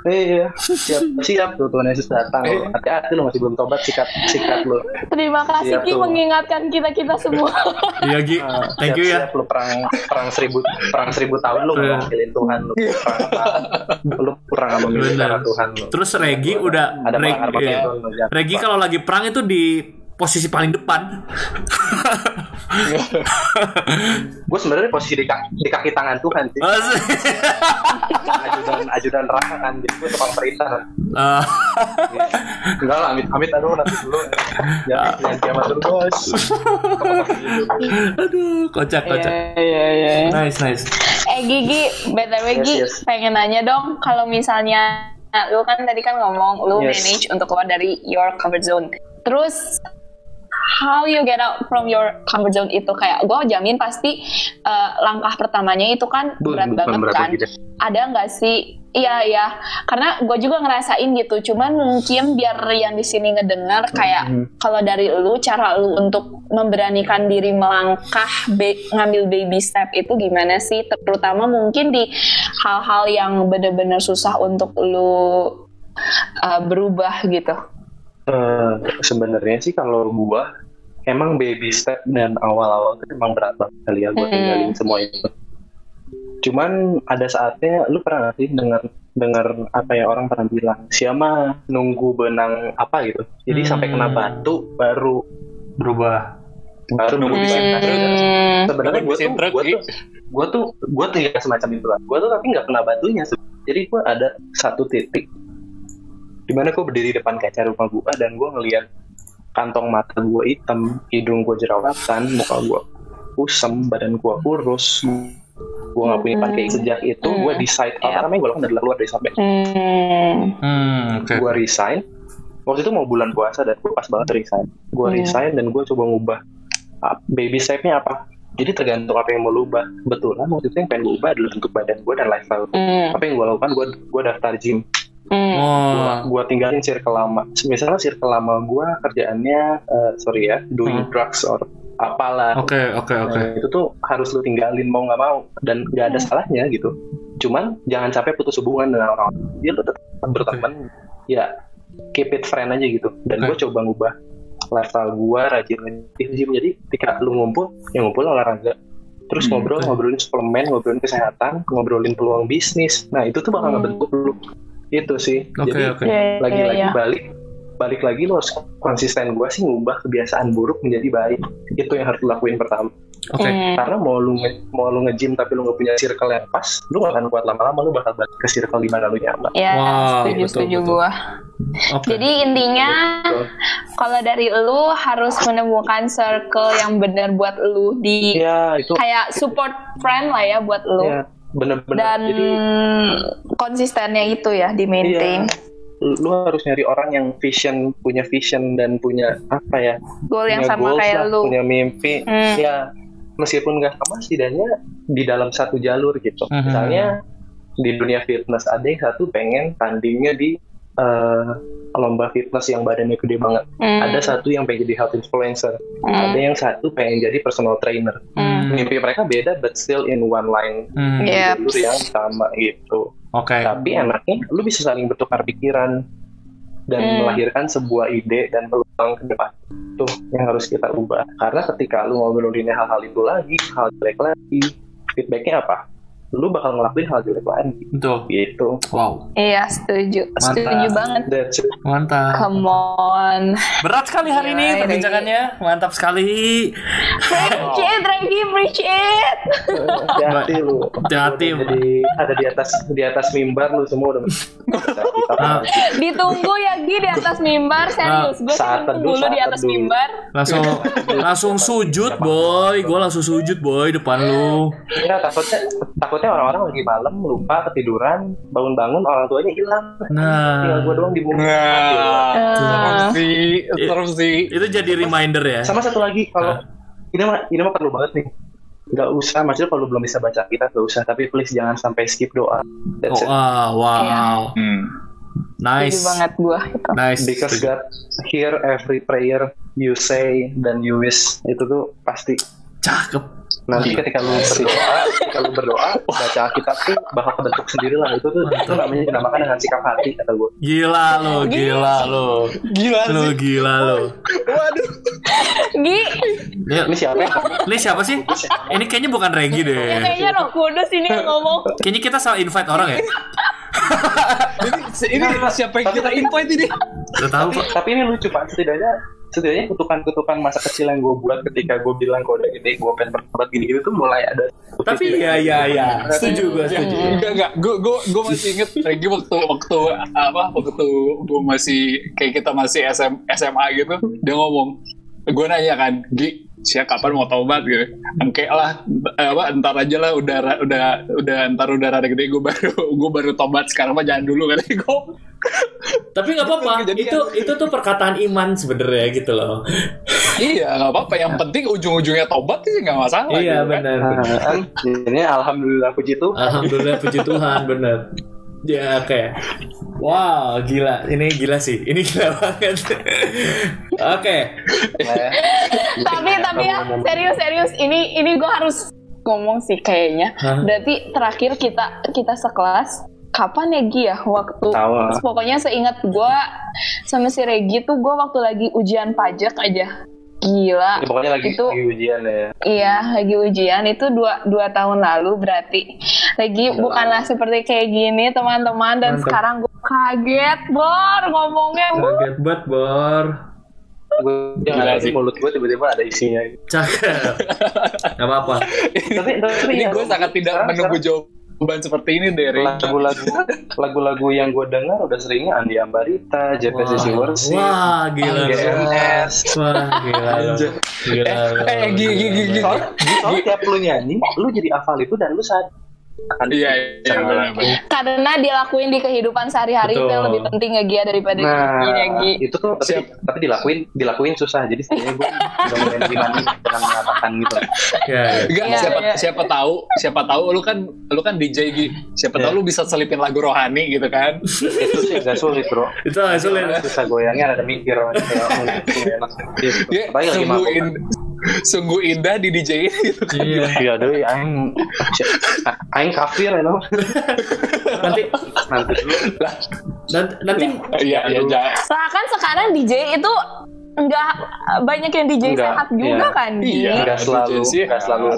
D: iya siap siap tuh Tuhan Yesus datang
A: Iya.
D: lo. hati-hati lo masih belum tobat sikat sikat lo
C: Terima kasih
D: Siap Iya,
C: Ki
D: tuh.
C: mengingatkan kita kita semua.
B: Iya, Gi. Thank you ya.
D: Ah, siap lo perang perang seribu perang seribu tahun lo
B: Iya.
D: nggak wakilin Tuhan lo kurang apa- lo kurang apa milih
B: Benar.
D: cara Tuhan lo
B: Terus Regi udah
D: ada
B: Regi-
D: pengaruh
B: iya.
D: Tuhan lo jangan
B: Regi
D: lupa.
B: kalau lagi perang itu di posisi paling depan.
D: gue sebenarnya posisi di kaki, di kaki tangan Tuhan sih ajudan ajudan raka kan jadi gue tukang perintah
B: Eh,
D: Enggak lah, amit amit aduh nanti dulu. Ya, jangan kiamat dulu bos.
B: aduh, kocak kocak.
C: iya, iya.
B: Nice nice.
C: Eh Gigi, btw
D: Yes,
C: Gi,
D: yes.
C: pengen nanya dong kalau misalnya nah, lu kan tadi kan ngomong lu
D: Yes.
C: manage untuk keluar dari your comfort zone. Terus how you get out from your comfort zone itu kayak gue jamin pasti eh, langkah pertamanya itu kan
D: Bu,
C: berat
D: bukan
C: banget
D: berat
C: kan.
D: lagi deh.
C: Ada nggak sih? Iya iya, karena gue juga ngerasain gitu. Cuman mungkin biar yang di sini ngedengar kayak
D: Mhm.
C: kalau dari lu cara lu untuk memberanikan diri melangkah ba- ngambil baby step itu gimana sih? Terutama mungkin di hal-hal yang bener-bener susah untuk lu eh, berubah gitu.
D: Eh, sebenarnya sih kalau gua emang baby step dan awal-awal itu emang berat banget kali ya gua
C: Hmm.
D: tinggalin semua itu. Cuman ada saatnya lu pernah nggak sih dengar dengar apa ya orang pernah bilang siapa nunggu benang apa gitu. Jadi sampai
B: Hmm.
D: kena batu baru
B: Berubah.
D: baru
A: Nunggu
D: nunggu
A: disentrek.
C: Hmm.
D: sebenarnya
A: Nunggu
D: gue tuh
A: disentrek,
D: gue
A: Ki.
D: tuh gue tuh gue tuh ya semacam itu lah gue tuh tapi nggak kena batunya sebenarnya. jadi gue ada satu titik dimana gue berdiri depan kaca rumah gue dan gue ngeliat kantong mata gue hitam hidung gue jerawatan muka gue kusam badan gue kurus gue nggak punya pakai sejak itu gue decide apa
C: Iya.
D: namanya gue lakukan adalah keluar dari sampai
C: Hmm.
B: Hmm, oke.
D: gue resign waktu itu mau bulan puasa dan gue pas banget resign gue
C: Iya.
D: resign dan gue coba ngubah ah, baby stepnya apa jadi tergantung apa yang mau lu ubah betul lah waktu itu yang pengen gue ubah adalah bentuk badan gue dan lifestyle gue.
C: Hmm.
D: apa yang gue lakukan gue gue daftar gym
C: Hmm.
D: mm.
B: Oh.
D: gue tinggalin circle lama misalnya circle lama gue kerjaannya eh, sorry ya doing
B: Hmm.
D: drugs or apalah
B: Oke, oke, oke.
D: Nah, itu tuh harus lu tinggalin mau nggak mau dan nggak ada
C: Iya.
D: salahnya gitu. Cuman jangan sampai putus hubungan dengan orang. Dia lu tetap berteman. Ya keep it friend aja gitu. Dan gue coba ngubah lifestyle gue rajin nge-gym. Jadi ketika lu ngumpul, yang ngumpul ya olahraga. terus
B: Hmm,
D: ngobrol ngobrolin suplemen ngobrolin kesehatan ngobrolin peluang bisnis nah itu tuh bakal
C: Hmm.
D: ngebentuk lu itu sih
B: Oke,
D: jadi
B: oke.
C: Iya, iya,
D: lagi-lagi
C: iya.
D: balik balik lagi lo harus konsisten gue sih ngubah kebiasaan buruk menjadi baik itu yang harus lo lakuin pertama
B: Oke.
C: Hmm.
D: karena mau lu nge- mau lu nge-gym tapi lu nggak punya circle yang pas lu gak akan kuat lama-lama lu bakal balik ke circle di mana lu nyaman
C: Ya,
B: Wow,
C: setuju,
B: betul,
C: setuju
B: betul.
C: gua.
B: Oke.
C: Jadi intinya kalau dari lu harus menemukan circle yang benar buat lu di
D: ya itu
C: kayak support friend lah ya buat lu.
D: ya bener-bener
C: Dan
D: jadi
C: konsistennya itu ya di
D: iya
C: maintain.
D: lu lu harus nyari orang yang vision punya vision dan punya apa ya
C: Goal yang
D: punya
C: sama
D: goals
C: kayak
D: lah,
C: lu.
D: punya mimpi
C: Hmm.
D: ya meskipun nggak sama setidaknya di dalam satu jalur gitu
B: Mhm.
D: misalnya di dunia fitness ada yang satu pengen tandingnya di eh, lomba fitness yang badannya gede banget
C: Hmm.
D: ada satu yang pengen jadi health influencer
C: Hmm.
D: ada yang satu pengen jadi personal trainer
C: Hmm.
B: Hmm.
D: mimpi mereka beda but still in one line
B: Hmm.
C: Iya. Yep.
D: jalur yang sama gitu
B: Oke.
D: tapi enaknya lu bisa saling bertukar pikiran dan
C: Hmm.
D: melahirkan sebuah ide dan peluang ke depan tuh yang harus kita ubah karena ketika lu ngobrolin hal-hal itu lagi hal jelek lagi feedbacknya apa lu bakal ngelakuin hal jelek lagi
B: Betul.
D: gitu
B: Wow,
C: Iya, setuju.
B: Mantap.
C: Setuju banget.
D: that's it
B: mantap.
C: Come on.
B: Berat sekali hari ini
C: Gila, ini.
B: perbincangannya. Mantap sekali.
C: Thank you, thank you, appreciate.
D: hati-hati lu
B: Hati-hati.
D: Lu udah jadi ada di atas di atas mimbar lu semua udah kita
B: Ah.
C: Ditunggu ya Gi di atas mimbar, serius. Gue sih
D: Saat teduh,
C: tunggu lu di
D: saat
C: atas
D: teduh.
C: mimbar.
B: Langsung langsung sujud, boy. Gua langsung sujud, boy, depan lu.
D: Ya, takutnya takutnya orang-orang lagi malam lupa ketiduran bangun-bangun orang tuanya hilang
B: Nah.
D: tinggal gue doang di bumi
B: Ah,
A: Nah, serem
C: Eh,
A: sih, serem sih.
D: Iya.
B: Itu jadi reminder ya.
D: sama satu lagi kalau ini mah ini mah perlu banget nih nggak usah maksudnya kalau belum bisa baca kita nggak usah tapi please jangan sampai skip doa
B: Oh,
D: that's
A: ah,
B: wow,
D: it
B: wow.
A: Hmm.
C: Setuju
B: Nice.
C: banget gue. Gitu.
B: Nice.
D: because God hear every prayer you say dan you wish itu tuh pasti
B: Cakep.
D: nanti
A: Iya.
D: ketika lu berdoa ketika lu berdoa baca kitab tuh bakal kebentuk sendiri lah itu tuh itu namanya dinamakan dengan sikap hati kata gue
B: Gila lu, gila lu.
A: Gila
D: Nah.
B: Lu
A: sih.
B: gila lu.
A: Waduh.
C: Gi,
B: Ya,
D: ini siapa yang
B: Ini siapa sih? Ini kayaknya bukan Regi deh.
C: ya Iya, kayaknya Roh Kudus ini yang ngomong.
B: Kayaknya kita salah invite orang ya?
A: Ini, ini siapa yang kita invite ini?
B: Gak tahu Pak.
D: tapi ini lucu pak setidaknya setidaknya kutukan-kutukan masa kecil yang gue buat ketika gue bilang gue udah gede gue pengen bertobat gini-gini tuh mulai ada
B: Tapi ya ya ya, setuju gua setuju.
A: Enggak enggak, gue gue gue masih inget lagi waktu waktu apa waktu gue masih kayak kita masih SM, SMA gitu dia ngomong gue nanya kan Gi siapa kapan mau taubat gitu Engke lah eh, apa entar aja lah udah ra- udah udah entar udah rada gede gue baru gue baru tobat sekarang mah jangan dulu katanya gue
B: Tapi nggak apa-apa.
A: Jadi
B: Itu itu tuh perkataan iman sebenarnya gitu loh.
A: iya nggak apa-apa yang penting ujung-ujungnya tobat sih nggak masalah
B: Iya
A: gitu kan.
B: benar.
D: Ah, ini alhamdulillah puji tuh
B: Alhamdulillah puji Tuhan benar. Ya oke. Wow, gila. Ini gila sih. Ini gila banget. oke.
D: ya.
B: Iya,
C: tapi tapi ya serius serius ini ini gue harus ngomong sih kayaknya
B: Hah?
C: berarti terakhir kita kita sekelas kapan ya Gi ya waktu
D: Tahu lah.
C: pokoknya seingat gue sama si Regi tuh gue waktu lagi ujian pajak aja gila
D: Ya, pokoknya lagi,
C: itu
D: lagi ujian ya
C: iya lagi ujian itu dua dua tahun lalu berarti Regi
D: Udah
C: bukanlah seperti kayak gini teman-teman dan
B: Mantap.
C: sekarang gue kaget bor ngomongnya wuh.
B: Kaget banget, Bor.
D: gue
A: Gila
D: ada
A: sih.
D: mulut gue tiba-tiba ada isinya
B: Cakep. Gak apa-apa.
D: tapi tapi
A: ini
D: ya,
A: gue sangat tidak
D: sekarang-
A: menunggu
D: sekarang
A: jawaban seperti ini dari
D: lagu-lagu lagu-lagu yang gue dengar udah seringnya Andi Ambarita JPC
B: Wah,
D: Siwersi
B: wah, gila. lu.
D: GMS
B: Wah, gila. lu. Gila. lu.
A: eh, eh, gigi, gigi, gigi.
D: soalnya soalnya tiap lu nyanyi lu jadi hafal itu dan lu sadar
A: iya iya benar-benar.
C: karena dilakuin di kehidupan sehari-hari itu
B: Betul.
C: yang lebih penting ya Gia daripada
D: Nah,
C: dilakuin ya Gi.
D: itu tuh tapi,
A: Siap.
D: tapi dilakuin dilakuin susah. Jadi sebenarnya gue udah mulai gimana dengan mengatakan gitu.
B: Ya, ya.
A: Enggak,
C: Iya,
A: siapa
C: iya.
A: siapa tahu, siapa tahu lu kan lu kan DJ Gi. Siapa
D: Iya.
A: tahu lu bisa selipin lagu rohani gitu kan.
D: Itu sih gak sulit bro.
B: Itu agak sulit. ya?
D: Susah goyangnya ada mikir kayak oh, itu enak. Gitu.
A: Dia
D: Apalagi lagi
A: sungguh
D: mabuk. kan.
A: in- Ya, sungguh indah di DJ gitu kan.
B: Iya.
D: Iya doi aing aing kafir ya no.
B: Nanti
D: Nanti dulu.
B: dan- nanti
A: Iya, iya, iya.
C: Seakan kan sekarang DJ itu nggak banyak yang DJ
D: Nggak,
C: sehat juga
D: iya.
C: kan Gi?
A: Iya.
D: Enggak selalu
A: DJ sih.
D: enggak selalu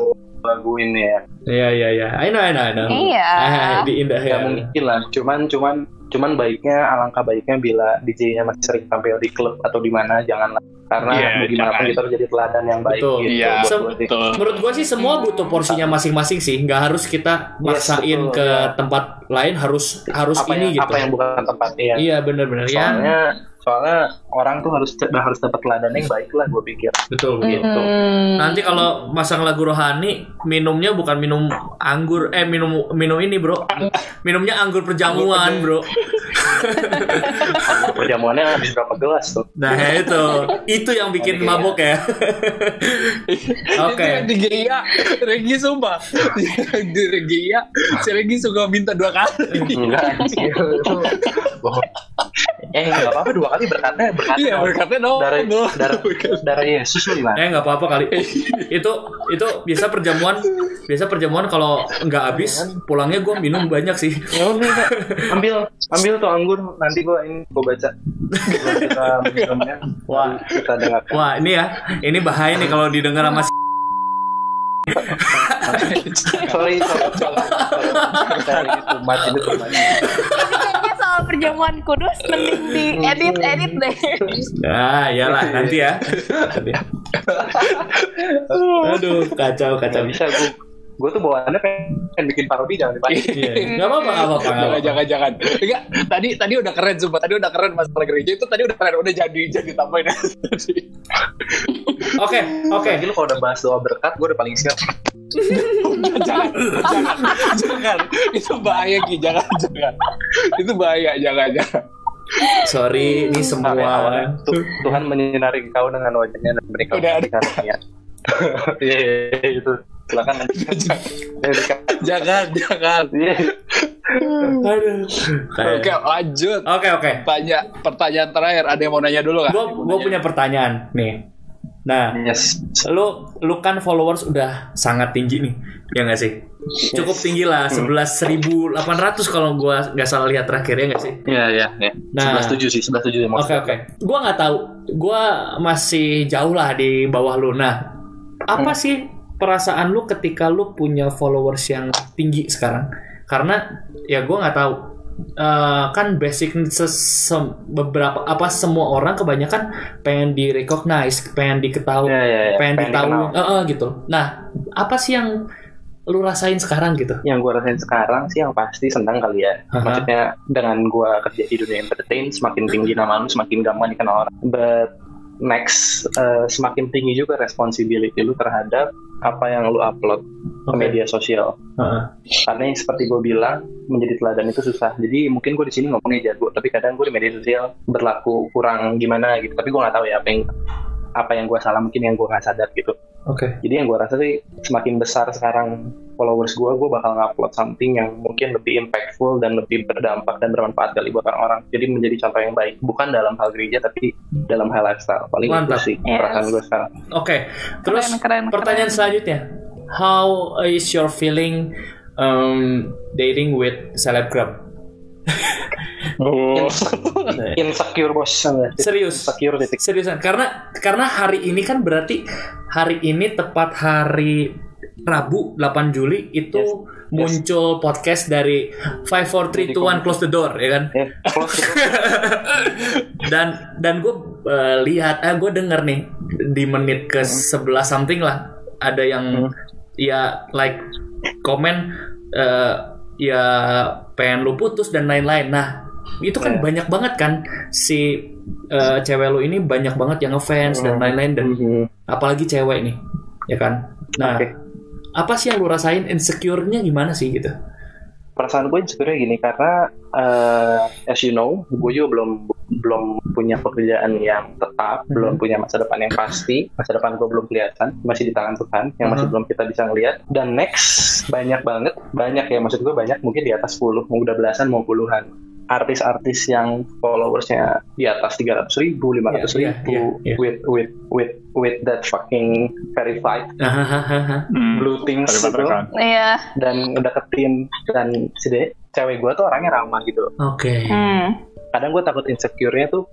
D: lagu ini ya
B: Iya iya iya. I know I know I know.
C: Iya.
B: Ah, Di indah
D: nggak
B: ya.
D: mungkin lah cuman cuman cuman baiknya alangkah baiknya bila DJ-nya masih sering tampil di klub atau di mana janganlah karena
A: Iya,
D: bagaimanapun
A: jangan.
D: kita harus jadi teladan yang baik
B: Betul.
D: gitu
A: Iya,
D: buat
B: Sem-
D: buat-
A: betul.
B: Menurut gua sih semua butuh porsinya masing-masing sih. Nggak harus kita
D: Iya. Yes,
B: maksain
D: betul,
B: ke
D: ya.
B: tempat lain harus harus
D: apa
B: ini
D: yang,
B: gitu.
D: apa yang bukan tempatnya
B: Iya benar-benar ya.
D: soalnya soalnya orang tuh harus harus dapat teladan yang baik lah gue pikir
B: Betul betul.
D: gitu
C: Hmm.
B: Nanti kalau masang lagu rohani, minumnya bukan minum anggur, eh minum minum ini bro, minumnya anggur perjamuan bro.
D: perjamuannya habis berapa gelas tuh
B: Nah itu, itu yang bikin
D: Oke.
B: mabok ya.
A: Itu
B: Oke.
A: yang di Gia, Regi sumpah. di Gia, si Regi suka minta dua kali.
D: enggak anjir. eh nggak apa-apa dua kali berkatnya berkatnya
A: Iya, berkatnya no.
D: darah
A: no.
D: darah darah Yesus lu gimana
B: Eh nggak apa-apa kali. itu itu biasa perjamuan, biasa perjamuan kalau nggak
D: Iya kan?
B: habis pulangnya gue minum banyak sih.
D: Ya udah, udah. ambil ambil tuh anggur nanti gua ini gua baca Gua kita minumnya
B: Wah.
D: kita dengar
B: Wah ini ya, ini bahaya nih kalau didengar sama si-
D: sorry sorry sorry sorry itu mati itu
C: Tapi kayaknya soal perjamuan kudus mending di edit edit deh.
B: Nah iyalah nanti ya. Nanti ya. Aduh kacau
D: nggak
B: kacau. Iya,
D: bisa gua gua tuh bawaannya pengen bikin parodi jangan dipakai
B: Iya. Nggak apa-apa nggak apa-apa. nggak
A: Jangan,
B: apa-apa.
A: jangan, jangan. Enggak, tadi tadi udah keren sumpah. Tadi udah keren masalah gereja itu tadi udah keren. Udah jadi jadi tambahin.
B: Oke oke.
D: Lagi lu kalau udah bahas doa berkat, gua udah paling siap.
A: Udah, jangan, jangan, jangan. Itu bahaya Ki, jangan, jangan. Itu bahaya, jangan, jangan.
B: Sorry, ini semua.
D: Sampai ya. awalnya, Tu- Tuhan menyinari engkau dengan wajahnya dan mereka
A: Udah ada.
D: karunia. Iya, iya, iya, itu. Silakan nanti. Ya, dikasih.
A: Jangan, jangan.
D: Iya.
B: Aduh.
A: Oke,
B: Kayak-
A: lanjut.
B: Oke, oke.
A: Tanya pertanyaan terakhir. Ada yang mau nanya dulu nggak?
B: Gua gua punya pertanyaan nih. Nah,
D: Yes.
B: lu lu kan followers udah sangat tinggi nih. Ya nggak sih? Cukup tinggi lah,
D: Hmm.
B: 11.800 kalau gua nggak salah lihat terakhir ya nggak sih?
D: Iya, iya, iya.
B: Nah.
D: Sebelas tujuh sih, sebelas tujuh
B: Oke, oke. Gua nggak tahu. Gua masih jauh lah di bawah lu. Nah, apa sih perasaan lu ketika lu punya followers yang tinggi sekarang? Karena ya gua nggak tahu. Eh, kan basic sesem- beberapa apa semua orang kebanyakan pengen di recognize, pengen diketahui,
D: Iya, iya, iya.
B: Ya, pengen,
D: Pengen
B: diketahui,
D: dikenal.
B: Eh, eh, gitu. Nah, apa sih yang lu rasain sekarang gitu?
D: yang gue rasain sekarang sih yang pasti senang kali ya
B: Aha.
D: maksudnya dengan gue kerja di dunia entertain semakin tinggi nama lu semakin gampang dikenal orang but next eh, semakin tinggi juga responsibility lu terhadap apa yang lu upload ke
B: Oke.
D: media sosial
B: Heeh.
D: karena yang seperti gue bilang menjadi teladan itu susah jadi mungkin gue di sini ngomongnya jago tapi kadang gue di media sosial berlaku kurang gimana gitu tapi gue nggak tahu ya apa yang apa yang gue salah mungkin yang gue nggak sadar gitu
B: Oke.
D: jadi yang gue rasa sih semakin besar sekarang followers gue, gue bakal ngupload something yang mungkin lebih impactful dan lebih berdampak dan bermanfaat kali buat orang-orang. Jadi menjadi contoh yang baik, bukan dalam hal gereja tapi dalam hal lifestyle. Paling itu
B: Mantap.
D: sih
C: Yes.
D: perasaan gue sekarang.
B: Oke, terus
C: keren,
B: pertanyaan
C: keren.
B: selanjutnya, how is your feeling um, dating with selebgram?
A: Oh.
D: Insecure bos,
B: Serius,
D: insecure titik.
B: seriusan. Karena karena hari ini kan berarti hari ini tepat hari Rabu 8 Juli itu
D: Yes.
B: muncul podcast dari 5 4 3 2 1 close the door ya kan?
D: Ya, close gitu.
B: dan dan gue lihat eh gue denger nih di menit ke 11 something lah ada
D: Hmm.
B: yang ya like komen eh, ya pengen lu putus dan lain-lain nah itu kan
D: Iya.
B: banyak banget kan si eh, cewek lu ini banyak banget yang ngefans dan lain-lain dan
D: Mhm.
B: apalagi cewek nih ya kan nah
D: Oke.
B: apa sih yang lu rasain insecure-nya gimana sih gitu
D: perasaan gue insecure gini karena eh, as you know gue juga belum belum punya pekerjaan yang tetap
B: Mhm.
D: belum punya masa depan yang pasti masa depan gue belum kelihatan masih di tangan Tuhan yang masih
B: Mhm.
D: belum kita bisa ngelihat dan next banyak banget banyak ya maksud gue banyak mungkin di atas 10 mau udah belasan mau puluhan artis-artis yang followersnya di atas 300 ribu,
B: Iya,
D: 500
B: iya,
D: ribu
B: iya, iya.
D: with with with with that fucking verified
B: Nah,
A: Hmm.
B: Hmm.
D: blue things gitu. itu
C: Iya.
D: dan ngedeketin dan si de, cewek gue tuh orangnya ramah gitu
B: oke
C: Hmm.
D: kadang gue takut insecure-nya tuh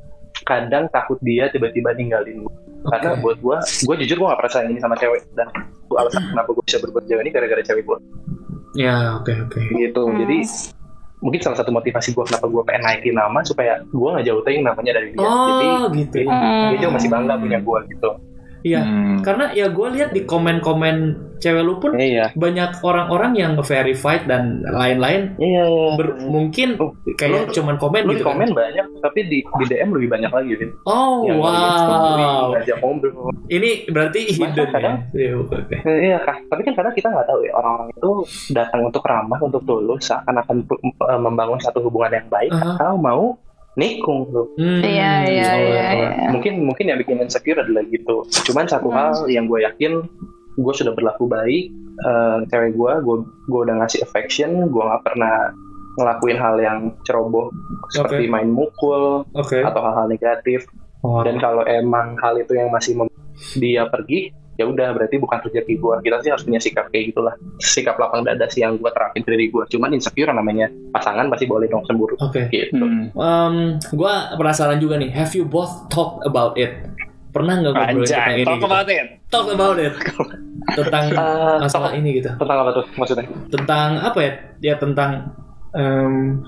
D: kadang takut dia tiba-tiba ninggalin gue karena
B: Oke.
D: buat gue gue jujur gue gak perasaan ini sama cewek dan itu alasan kenapa gue bisa berbuat jauh ini gara-gara cewek gue
B: Ya, oke, oke.
D: gitu
C: Hmm.
D: jadi mungkin salah satu motivasi gue kenapa gue pengen naikin nama supaya gue nggak jauhin namanya dari dia Ya, jadi
B: Oh, gitu.
D: dia, dia juga masih bangga punya gue gitu
B: Iya.
A: Hmm.
B: Karena ya gue lihat di komen-komen cewek lu pun
D: iya
B: banyak orang-orang yang verified dan lain-lain
D: iya
B: Ber- mungkin
D: Lu-
B: kayak
D: Oh, lu-
B: cuman komen
D: lu di
B: gitu kan.
D: komen banyak tapi di, di DM lebih banyak lagi gitu
B: Oh,
D: Yang
B: wow.
D: ngajak ngobrol
B: Ini berarti hidden ya.
D: kadang-
B: Iya, oke.
D: Eh, Iya kak, tapi kan kadang kita nggak tahu ya orang-orang itu datang untuk ramah, untuk tulus, seakan-akan pu- m- eh, membangun satu hubungan yang baik
B: Aha.
D: atau mau nikung tuh.
B: Hmm,
C: Iya, iya,
B: boleh,
C: iya,
B: boleh.
C: iya.
D: Mungkin mungkin yang bikin insecure adalah gitu. Cuman satu
C: Hmm.
D: hal yang gue yakin, gue sudah berlaku baik, eh, cewek gue, gue gue udah ngasih affection, gue nggak pernah ngelakuin hal yang ceroboh seperti main mukul
B: Oke.
D: atau hal-hal negatif.
B: Oh,
D: Dan kalau emang hal itu yang masih mem- dia pergi, ya udah berarti bukan rezeki gua. Kita sih harus punya sikap kayak gitulah. Sikap lapang dada sih yang gua terapin ke diri gua. Cuman insecure namanya pasangan pasti boleh dong cemburu
B: Oke.
D: gitu.
A: Hmm.
B: Um, gue penasaran juga nih. Have you both talked about it? Pernah nggak ngobrolin tentang
A: Anjay,
B: ini?
A: talk
B: gitu?
A: about it.
B: Talk about it. tentang
D: Eh,
B: masalah ini gitu.
D: Tentang apa tuh maksudnya?
B: Tentang apa ya? Ya tentang em,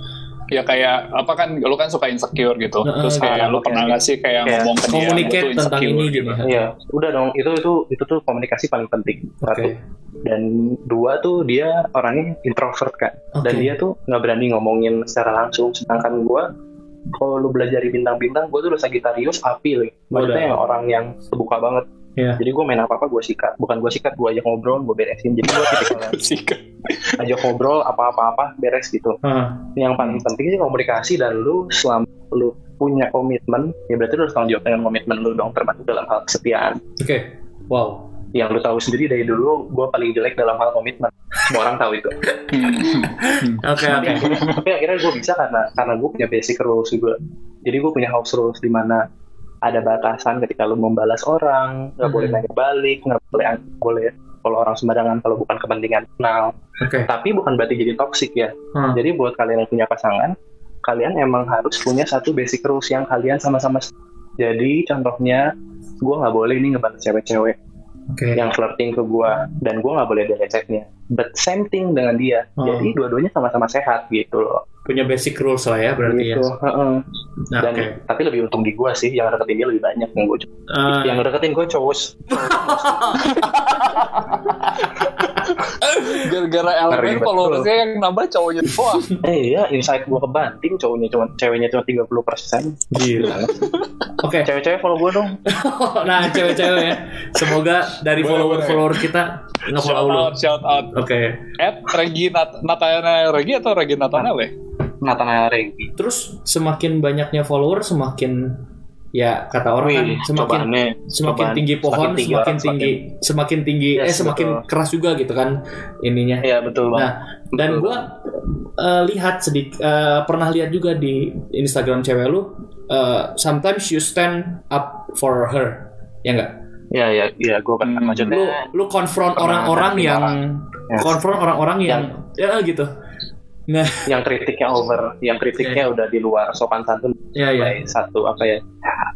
A: Ya kayak apa kan lu kan suka insecure gitu.
B: Heeh,
A: Terus kayak
D: gitu.
A: lu pernah nggak sih kayak
D: Kayak
A: ngomong ke dia lu
B: communicate
A: tuh
B: tentang
A: insecure
B: ini
A: gitu.
B: gini.
D: Iya, udah dong. Itu itu itu tuh komunikasi paling penting. Satu.
B: Oke.
D: Dan dua tuh dia orangnya introvert kan.
B: Oke.
D: Dan dia tuh nggak berani ngomongin secara langsung. Sedangkan gua kalau lu belajar di bintang-bintang, gue tuh udah Sagittarius api loh.
B: Udah.
D: Maksudnya yang orang yang terbuka banget.
B: Iya.
D: jadi gue main apa apa gue sikat bukan gue sikat gue ajak ngobrol gue beresin jadi gue tipikalnya
A: Sikap.
D: ajak ngobrol apa apa apa beres gitu
B: Ah,
D: yang paling penting sih komunikasi dan lu selama lu punya komitmen ya berarti lu harus tanggung jawab dengan komitmen lu dong termasuk dalam hal kesetiaan
B: Oke. Wow.
D: yang lu tahu sendiri dari dulu gue paling jelek dalam hal komitmen semua orang tahu itu
A: Hmm.
B: Oke
D: tapi akhirnya, tapi akhirnya gue bisa karena karena gue punya basic rules juga jadi gue punya house rules di mana ada batasan ketika lu membalas orang nggak boleh
B: Hmm.
D: nanya balik nggak boleh nggak boleh kalau orang sembarangan kalau bukan kepentingan kenal
B: Oke.
D: tapi bukan berarti jadi toksik ya.
B: Hmm.
D: Jadi buat kalian yang punya pasangan, kalian emang harus punya satu basic rules yang kalian sama-sama. Jadi contohnya, gue nggak boleh nih ngebantu cewek-cewek
B: Oke.
D: yang flirting ke gue, dan gue nggak boleh ada leceknya. But same thing dengan dia.
B: Hmm.
D: Jadi dua-duanya sama-sama sehat gitu loh.
B: Punya basic rules lah ya berarti
D: gitu.
B: ya.
D: heeh.
B: Nah,
D: Dan
B: oke.
D: tapi lebih untung di gue sih, yang deketin dia lebih banyak yang gue.
B: Ah,
D: Yang deketin gue cowok.
A: Gara-gara elemen
D: Ngeri
A: followersnya yang nambah cowoknya doang.
D: Eh iya, insight gue kebanting cowoknya cuma ceweknya cuma 30
B: gila. Oke.
D: Cewek-cewek follow gue dong.
B: Nah, cewek-cewek ya. Semoga dari
A: Boleh,
B: follower-follower kita nge-follow
A: Shout
B: lu.
A: out, shout out.
B: Oke.
A: At Regi Nat Natana Regi atau Regi Natana ya?
D: Nathan Regi.
B: Terus semakin banyaknya follower semakin ya kata orang kan
D: Wih,
B: semakin
D: cobaannya,
B: semakin
D: cobaan.
B: tinggi pohon semakin
D: Semakin
B: tinggi
D: tinggi
B: semakin
D: orang,
B: tinggi,
D: Yes,
B: eh semakin
D: betul.
B: keras juga gitu kan ininya.
D: Iya betul banget.
B: Nah, dan
D: Betul.
B: gue lihat sedik eh, pernah lihat juga di Instagram cewek lu eh, sometimes you stand up for her. Ya enggak?
D: Iya iya iya gue
A: Hmm.
D: pernah maksudnya
B: Lu lu konfront
D: Nah, Pernah
B: orang-orang
D: ngerti
B: yang
D: orang. Yes.
B: konfront orang-orang yang ya gitu. Nah,
D: yang kritiknya over, yang kritiknya udah di luar sopan santun
B: ya ya.
D: mulai satu apa ya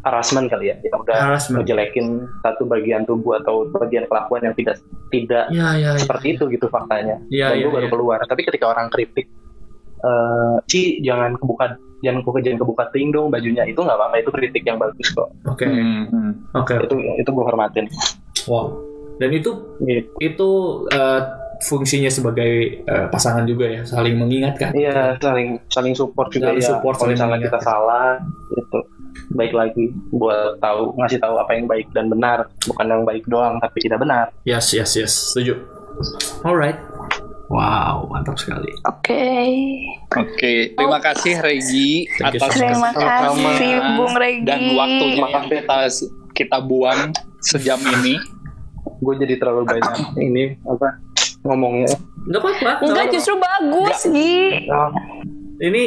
D: harassment kali ya yang udah
B: Harassment.
D: menjelekin satu bagian tubuh atau bagian kelakuan yang tidak tidak
B: Ya ya. ya.
D: seperti itu gitu faktanya.
B: Ya, ya,
D: Dan gue baru
B: ya.
D: keluar. Tapi ketika orang kritik, eh Ci jangan kebuka jangan kebuka jangan kebuka ting dong bajunya itu nggak apa-apa itu kritik yang bagus kok
B: Oke.
A: Hmm.
B: Oke.
D: itu itu gue hormatin
B: Wow. Dan itu
D: gitu.
B: itu eh, fungsinya sebagai eh, pasangan juga ya, saling mengingatkan.
D: Iya, saling saling support juga
B: Saling
D: ya.
B: support,
D: Kalau
B: saling
D: misalnya kita
B: mengingatkan.
D: salah, itu baik lagi buat tahu ngasih tahu apa yang baik dan benar, bukan yang baik doang tapi tidak benar.
B: Yes, yes, yes. Setuju. Alright. Wow, mantap sekali.
C: Oke.
A: Oke, terima kasih Regi
B: Thank you so
A: atas
B: much.
C: Terima
D: Sama-sama.
C: kasih Bung Regi.
A: dan waktunya
D: Makasih.
A: yang kita kita buang sejam ini.
D: Gue jadi terlalu banyak ini apa ngomongnya.
B: Gak apa-apa.
C: Enggak justru bagus, Gi.
D: Ah,
B: Ini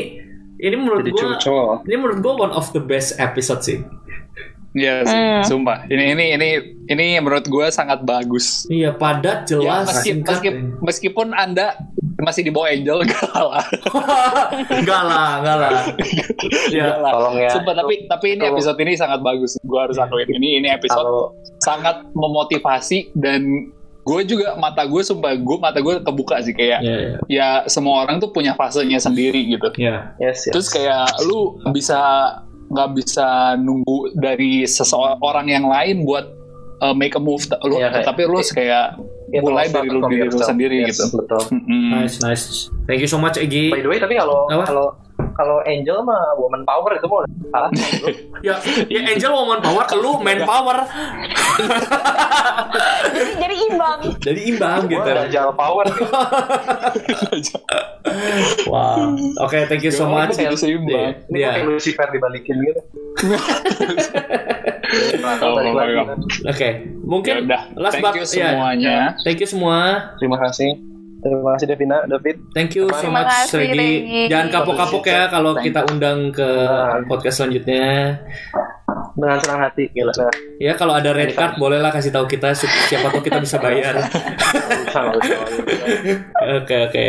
B: ini menurut
D: jadi
B: gua
D: cucol.
B: ini menurut gua one of the best episode sih.
A: Iya sih,
C: Hmm.
A: sumpah. Ini ini ini ini menurut gue sangat bagus.
B: Iya, padat,
A: Ya,
B: jelas,
A: meski-
B: singkat.
A: meski- meskipun anda masih di bawah Angel kalah.
B: enggak lah, enggak lah. Ya.
A: Kalah.
D: Tolong ya.
A: Sumpah, tapi tapi ini
D: Tolong.
A: episode ini sangat bagus. Gue harus akuin ini ini episode
D: Kalau
A: sangat memotivasi dan gue juga mata gue sumpah gue mata gue kebuka sih kayak
D: Iya.
B: Ya, ya.
A: ya semua orang tuh punya fasenya sendiri gitu.
B: Ya.
D: yes, yes.
A: Terus kayak lu bisa nggak bisa nunggu dari seseorang yang lain buat uh, make a move, Ta- lu,
D: Iya, kayak-
A: tapi lu kayak
D: It all
A: mulai
D: started
A: dari lu
D: from
A: diri lu
D: yourself.
A: sendiri
D: Yes,
A: gitu.
D: Betul.
A: Mm-mm.
B: Nice, nice. Thank you so much Egi.
D: By the way, tapi kalau
B: Apa?
D: kalau kalau Angel mah woman power itu mau salah.
B: Ya, ya Angel woman power, lu man power.
C: Jadi, jadi imbang.
B: Jadi imbang
D: Gue ada Angel power. gitu.
B: Wow. Oke, thank you so
A: Gimana
B: much.
A: bisa imbang?
D: Ini
B: Iya.
D: kayak Lucifer dibalikin gitu.
A: Oh
D: Balik
A: my
D: lagi.
A: God.
B: Oke, mungkin
A: Yaudah, thank you
B: ya.
A: semuanya.
B: Thank you semua.
D: Terima kasih. Terima kasih Devina, David.
B: Thank you so
C: Terima
B: much
C: kasih,
B: Regi.
C: Regi.
B: Jangan kapok-kapok ya kalau
A: Thank
B: kita undang ke podcast selanjutnya.
D: Dengan senang hati, gila. Nah,
B: Ya kalau ada red card bolehlah kasih tahu kita si- siapa tahu kita bisa bayar.
D: nggak usah, nggak usah.
B: Oke oke.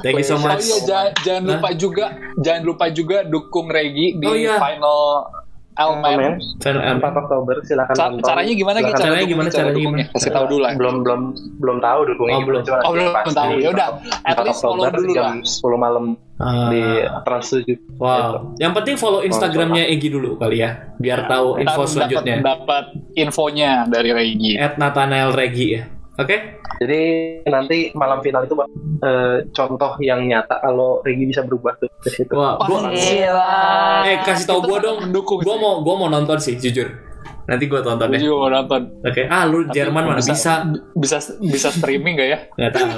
B: Thank you so
A: Oh
B: much. Nah.
A: iya, jangan, jangan
B: Hah?
A: lupa juga, jangan lupa juga dukung Regi di
B: Oh iya.
A: final
D: Komen.
A: Elmen.
B: Fan um, Am.
D: 4 Oktober silakan
A: Ca-
D: nonton.
A: caranya gimana Ki?
D: Silakan.
B: Caranya
A: dukung-
B: gimana,
A: cara
B: caranya
A: dukungnya?
B: gimana?
A: Kasih tahu dulu lah.
D: belum belum belum tahu dukungnya
B: Oh,
D: gimana,
B: belum.
D: cuma
A: Oh, belum
D: pasti.
A: tahu. Yaudah, at
D: 4
A: least follow
D: Oktober
A: dulu
D: jam
A: lah.
D: 10 malam
B: Ah.
D: di Trans 7
B: Wow. Yang penting follow Instagramnya Egi dulu kali ya, biar tahu
A: Ntar
B: info
A: dapat-
B: selanjutnya.
A: Dapat infonya dari Regi.
B: At Nathanael Regi ya. Oke?
D: Jadi nanti malam final itu eh, contoh yang nyata kalau Regi bisa berubah tuh dari situ.
B: Wah, gua-
C: Iya. Gila.
B: eh kasih tahu
A: Kita
B: gua
A: sangat
B: dong.
A: mendukung
B: Gua
A: sih.
B: mau gua mau nonton sih jujur. Nanti gua tonton
A: Gue
B: deh.
A: juga mau nonton.
B: Oke. Ah, lu Jerman mana bisa?
A: Bisa bisa streaming gak ya?
B: Nggak tahu.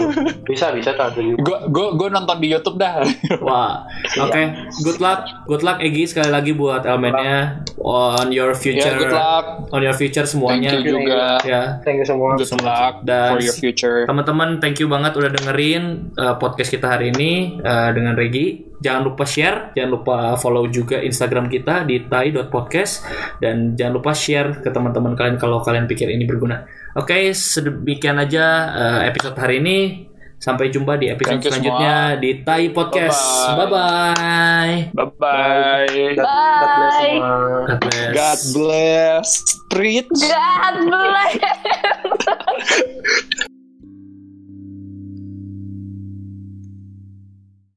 D: Bisa bisa Trans 7.
A: Gue gue gue nonton di YouTube dah.
B: Wah,
A: Iya.
B: oke. Good luck, good luck Egi sekali lagi buat elemennya on your
A: ya,
B: future,
A: good luck.
B: on your future
A: Thank
B: semuanya.
A: you juga.
B: Ya,
D: Thank you semua.
A: Good luck
B: Dan-
A: for your future.
B: teman-teman, thank you banget udah dengerin uh, podcast kita hari ini uh, dengan Regi. Jangan lupa share, jangan lupa follow juga Instagram kita di tai.podcast dan jangan lupa share ke teman-teman kalian kalau kalian pikir ini berguna. Oke, sedemikian aja uh, episode hari ini. Sampai jumpa di episode
A: Thank you
B: selanjutnya di Tai Podcast.
A: Bye-bye. Bye bye.
B: Bye-bye.
D: God, God bless
C: Bye.
D: semua.
B: God bless.
A: God bless. Street.
C: God bless.